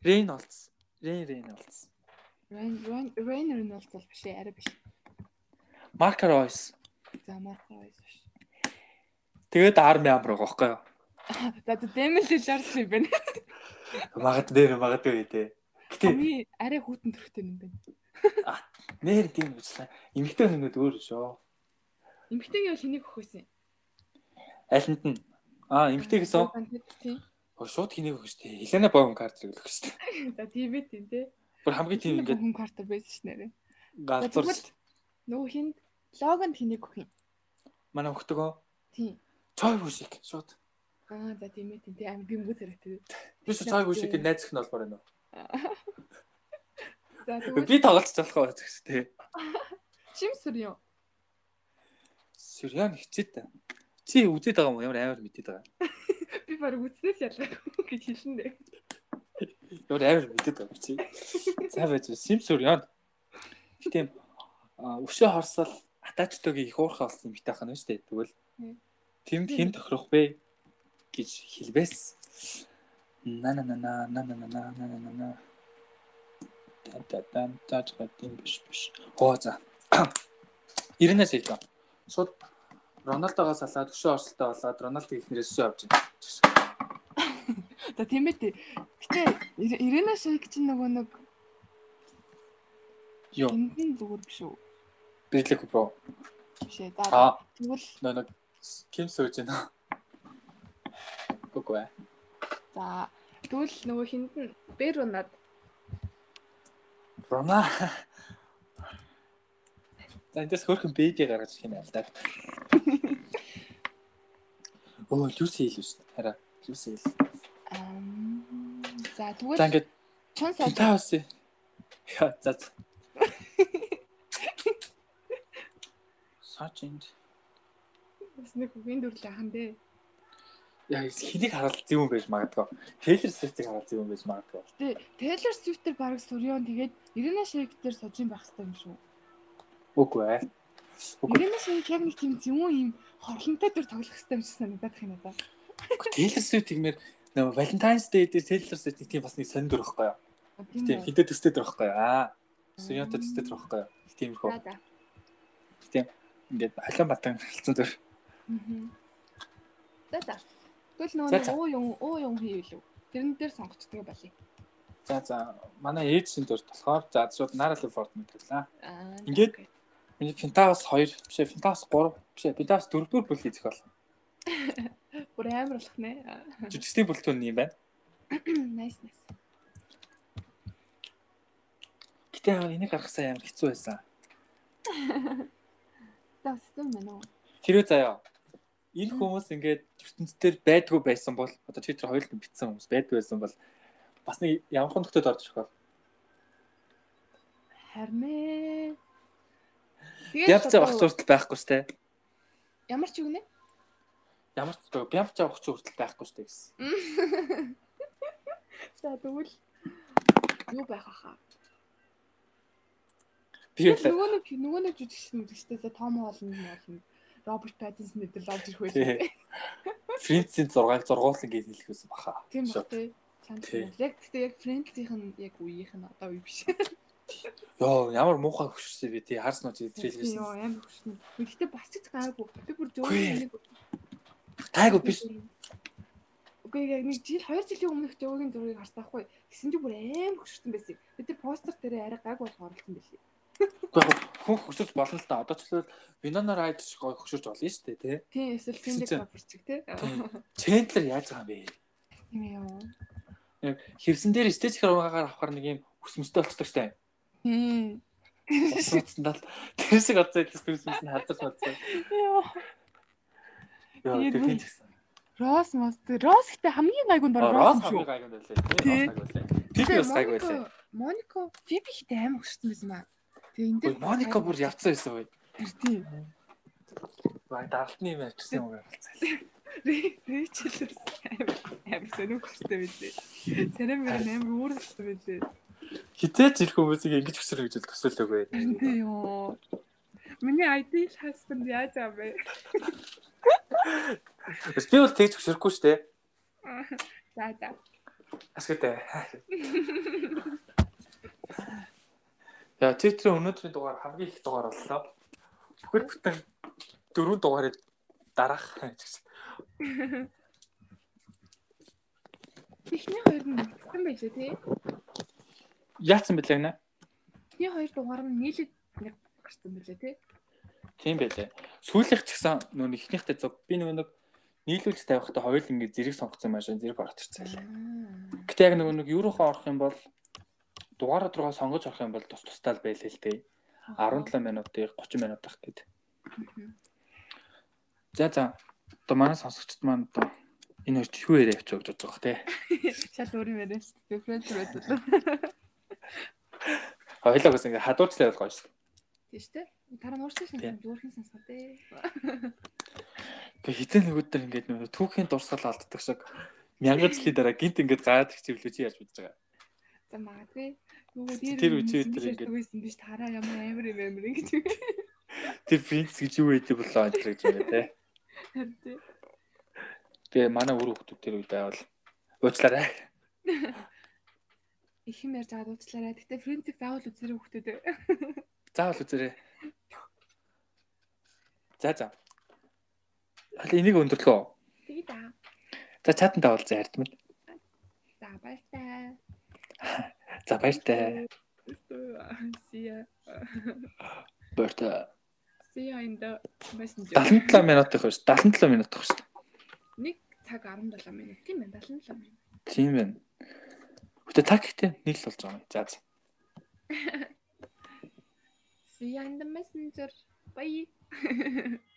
Speaker 1: Reynolds, Ray Reynolds,
Speaker 2: Rain Rain Rainer нь бол биш ээ, арай биш.
Speaker 1: Mark Royce.
Speaker 2: За, Марко байс биш.
Speaker 1: Тэгээд Army Amber байгаа байхгүй юу?
Speaker 2: За, Дэмэн Лилэрд л юм байна.
Speaker 1: Магад нэр магадгүй тий. Гэтэ
Speaker 2: Би арай хүүтэн төрхтэй юм байна.
Speaker 1: нэр тийм үслээ. Эмэгтэй хүмүүс өөр шүү.
Speaker 2: Эмгтэйг ял хэнийг өгөхөөс юм.
Speaker 1: Алинд нь аа эмэгтэй гэсэн.
Speaker 2: Тийм.
Speaker 1: Оо, Шууд хийнийг өгөх шүү дээ. Helena Bonham Carter гэлөх шүү дээ.
Speaker 2: За тийм ээ тийм тий.
Speaker 1: Бүр хамгийн тийм ингээд
Speaker 2: хүн картер байсан ш нэрэ.
Speaker 1: галзуур
Speaker 2: За, тэгвэл- Нөгөө хинд логонд хэнийг өгөх юм.
Speaker 1: манай өгтөгөө.
Speaker 2: Тийм.
Speaker 1: Choi Busik шууд.
Speaker 2: Аа за тийм ээ тийм тий. Ам гимгүү царайтай.
Speaker 1: Би шүү Choi Busik-ийн найз их нь олмоор байна уу?
Speaker 2: За тэгвэл
Speaker 1: Би тоглолцож болох байх шүү дээ.
Speaker 2: чим сүр юм.
Speaker 1: Сириан хичээд та. Чи үзээд байгаа юм уу? Ямар амар мэдээд байгаа.
Speaker 2: Би баг үснээс ялгаагүй гэж хэлсэн дээ.
Speaker 1: Ямар амар мэдээд байгаа чи. За байж байна. Сим Сириан. Гэтэм өшөө хорсол атаачтойгийн их уурхай болсон юм ихтэй хана шүү дээ. Тэгвэл
Speaker 2: Мм.
Speaker 1: тэнд хэн тохирох вэ гэж хэлвээс. На на на на на на на на на на на на. Тан тан тан тач гатын биш биш. Оо за. 90-аас илүү. Шууд Роналдогоос салаад өшөө орсолтой болоод Роналдог ихнэрээс өсөө авч байна.
Speaker 2: За тийм ээ тий. Гэтэ Ире- Ирена Шейк чинь нөгөө нэг
Speaker 1: Йоо,
Speaker 2: эндэн зүгээр биш үү?
Speaker 1: бирлэг бро.
Speaker 2: Биш ээ. За
Speaker 1: Аа,
Speaker 2: тэгвэл
Speaker 1: нөө нэг ким сууж байна. Гүгвэ.
Speaker 2: за тэгвэл нөгөө хинд нь Берунад
Speaker 1: Рона. За эндээс хөрхөн бэйди гаргаж ирэх юм аа л да. Оо, Люси хэл биш. Хараа, Люси хэл.
Speaker 2: ам, за
Speaker 1: За
Speaker 2: тэгвэл
Speaker 1: ингээд
Speaker 2: чон сож
Speaker 1: Питаус. Яа, за. за. Сачинд.
Speaker 2: бас нэг үгийн дүрлээ хаан дээ.
Speaker 1: Яа, хэнийг хараал зэв юм байж магадгүй. Тейлер Свифтийг хараал зэв юм байж магадгүй.
Speaker 2: Тэ Taylor Swift төр баг сурьён тэгээд Ирина Shayk төр сужин байх хэрэгтэй юм шүү.
Speaker 1: Үгүй ээ. Үгүй.
Speaker 2: Ирина Shayk яг нэг тийм зөвөн юм хорлонтой төр тоглох хэрэгтэй юм шиг санагдаад их юм даа.
Speaker 1: Тейлер Свифт гэмээр нөө Valentine's Day дээр Тейлер Свифт нэг тийм бас нэг сонир өгөхгүй юу?
Speaker 2: Тийм
Speaker 1: Тийм
Speaker 2: үү?
Speaker 1: хитэд төстэй дөрөхгүй юу? Аа. Сүнята төстэй дөрөхгүй юу? Тиймэрхүү.
Speaker 2: За за.
Speaker 1: Ингээд халуун батан хэлцэн дөр.
Speaker 2: Мгм. За за. Тэгвэл
Speaker 1: За,
Speaker 2: нөгөө
Speaker 1: за.
Speaker 2: уу юм уу юм хийвэл үү? Тэрэн дээр сонгочдөг байли.
Speaker 1: За за манай ээж шин дөр болохоор за шууд Narrative Ford мэтлээ.
Speaker 2: Аа. за,
Speaker 1: Ингээд?
Speaker 2: окей.
Speaker 1: Миний Pentaus 2 биш ээ, Pentaus 3 биш ээ, Pentaus 4 дэх бүл хийх бол.
Speaker 2: бүр амар болох нэ. Аа,
Speaker 1: Жижигсний бүлтүүн юм байна.
Speaker 2: Nice nice.
Speaker 1: Гэтэ аа, энийг гаргахсаа амар хэцүү байсан.
Speaker 2: Тассан байна уу?
Speaker 1: Тэрөө заяа. Энэ
Speaker 2: Мм.
Speaker 1: хүмүүс ингээд ертөнцийн байдгүй байсан бол одоо Twitter хоёулд нь битсэн хүмүүс байдгүй байсан бол бас нэг ямархан нөхдөд орж ирэх бол
Speaker 2: Харин ээ. Тэгээд
Speaker 1: явцаа
Speaker 2: одоо
Speaker 1: багц хүртэл байхгүй ч те.
Speaker 2: ямар ч үгнэ?
Speaker 1: Ямар ч явцаа багц хүртэл байхгүй ч те гэсэн.
Speaker 2: За тэгвэл юу байх аа?
Speaker 1: Би л
Speaker 2: Нөгөө нэг нөгөө нэг жүжигчин үзэгчтэйсээ том хоолны нь болно. Роберт Паттинсон гэдэг л олж ирэх байсан.
Speaker 1: Фринцийн зургааг зургуул ингээд хэлэх байсан баха.
Speaker 2: Тийм
Speaker 1: Шо.
Speaker 2: баг тий. Улаан
Speaker 1: Тий.
Speaker 2: чинь яг гэхдээ яг Friends-ийнх нь яг үеийнх нь одоо үе биш.
Speaker 1: Йоо, ямар муухай хөшөрсөн би тий харснаа чи
Speaker 2: Тийм
Speaker 1: трейлерээс.
Speaker 2: үү, амар хөшнө. Гэхдээ бас ч гайгүй. Би бүр
Speaker 1: Үгүй.
Speaker 2: зөөр нэг
Speaker 1: Тайгу биш.
Speaker 2: Үгүй яг нэг жил 2 жилийн өмнөх Жогогийн зургийг харсан байхгүй. Гэсэн чинь бүр амар хөшөрсөн байсан. Бид тэр постэр дээрээ арай гайг болох оролцсон байлээ.
Speaker 1: Үгүй яг хүн хөшөрч болно л да. Одоо ч л Winona Ryder шиг гоё хөшөрч болно шүү дээ тий.
Speaker 2: Тийм эсвэл Cindy
Speaker 1: Гэсэн чинь-
Speaker 2: Crawford чиг тий.
Speaker 1: Тийм. Чендлер яаж байгаа юм бэ?
Speaker 2: Тийм яа.
Speaker 1: Хевсэн дээр стеж храмгаар авахар нэг юм өсмөстэй болцдог штэ.
Speaker 2: Тийм.
Speaker 1: Өсмөстэй л тэр шиг одоо хэлээс төрсмөс нь хазарч болцсон.
Speaker 2: Яа.
Speaker 1: Йоо,
Speaker 2: Тэгээд
Speaker 1: тэр
Speaker 2: бүр-
Speaker 1: хин ч гэсэн.
Speaker 2: Ross Moss. Ross гэдэг хамгийн гайгүй нь
Speaker 1: Аа,
Speaker 2: баг
Speaker 1: Ross
Speaker 2: Ross шүү.
Speaker 1: хамгийн гайгүй байлээ. Тий, Ross гайгүй байлээ. Тэр бас гайгүй байлээ.
Speaker 2: Monica Phoebe гэдэг амар хөшөрсөн байсан маа. Тэгээ энэ
Speaker 1: Ой,
Speaker 2: дээр
Speaker 1: Моника бүр явцсан байсан бай.
Speaker 2: Тийм.
Speaker 1: Бай даралтны юм авчихсан юм болцсон.
Speaker 2: Рэйчел амар сонирх хөстэй билээ. Царам мөр амар өөр хөстэй билээ.
Speaker 1: Хизээч ирэх хүмүүсийг ингэж хөсөрнө гэж л төсөөлөөгүй.
Speaker 2: Тийм ёо. Миний ideal husband яаж аа бэ?
Speaker 1: Би бол тэгж хөсөрөхгүй штэ.
Speaker 2: За за.
Speaker 1: Ашигтай. Яа, титрийн өнөөдрийн дугаар хамгийн их дугаар боллоо. Бүхэл бүтэн дөрвөн дугаарыг дараах гэсэн.
Speaker 2: Эхний хоёр нь нэгсэн байлээ тий.
Speaker 1: Яатсан бэлээ гинэ?
Speaker 2: Эхний хоёр дугаар нь нийлээд нэг гарсан байлээ тий.
Speaker 1: Тийм байлээ. Сүүлийнх ч гэсэн нөө ихнийхтэй зөв би нөгөө нэг нийлүүлж тавихтаа хоёул ингэ зэрэг сонгоцсон маш зэрэг багтарцсан байлээ. Гэтэ яг нөгөө нэг юуруу орох юм бол дугаар руугаа сонгож орох юм бол тус тустай л байлээ л дээ. 17 минутыг 30 минутах гэдэг. За за. Одоо манай сонсогчд маань одоо энэ хоёр юу яриа явууч гэж бодож байгаа те.
Speaker 2: Шал өөр юм яриа шүү дээ. Фрэнд байсан.
Speaker 1: Хоёлаа гэсэн ингээ хадуурчлаа болгоо шүү.
Speaker 2: Тийм шүү дээ. Дараа нь уурсан
Speaker 1: Тийм.
Speaker 2: юм зүрхэн сонсгоо дээ.
Speaker 1: Тэгээ хизээ нөгөөд төр ингээд нөгөө түүхийн дурсгал алддаг шиг мянган жилийн дараа гинт ингээд гараад их чивлүүч яаж бодож байгаа.
Speaker 2: За магадгүй. Нөгөө
Speaker 1: Тэр үчи өдөр
Speaker 2: ингэж
Speaker 1: ингэж-
Speaker 2: байсан биш тараа ямар амар юм амар ингэж.
Speaker 1: Тэр принц гэж юу гэдэг болоо энэ гэж юм те.
Speaker 2: Харин тий.
Speaker 1: Тэгээ манай өр хүмүүс тэр үе байвал уучлаарай.
Speaker 2: их юм ярьж байгаа дуучлаарай. Гэтэ фрэнцэг заавал үзэрэй хүмүүс дээ.
Speaker 1: Заавал үзээрэй. За за. Хали энийг өндөрлөө.
Speaker 2: Тэгээ да.
Speaker 1: За чатан тавал за ярд мэд.
Speaker 2: За баяртай.
Speaker 1: За баяртай.
Speaker 2: Сия.
Speaker 1: Баяртай.
Speaker 2: Сия in the messenger.
Speaker 1: 77 минут их шүү. 77 минут их шүү.
Speaker 2: 1 цаг 17 минут тийм ээ 77 минут.
Speaker 1: Тийм байна. Гэтэ цаг ихтэй нийл болж байгаа юм. За за.
Speaker 2: Сия in the messenger. Bye.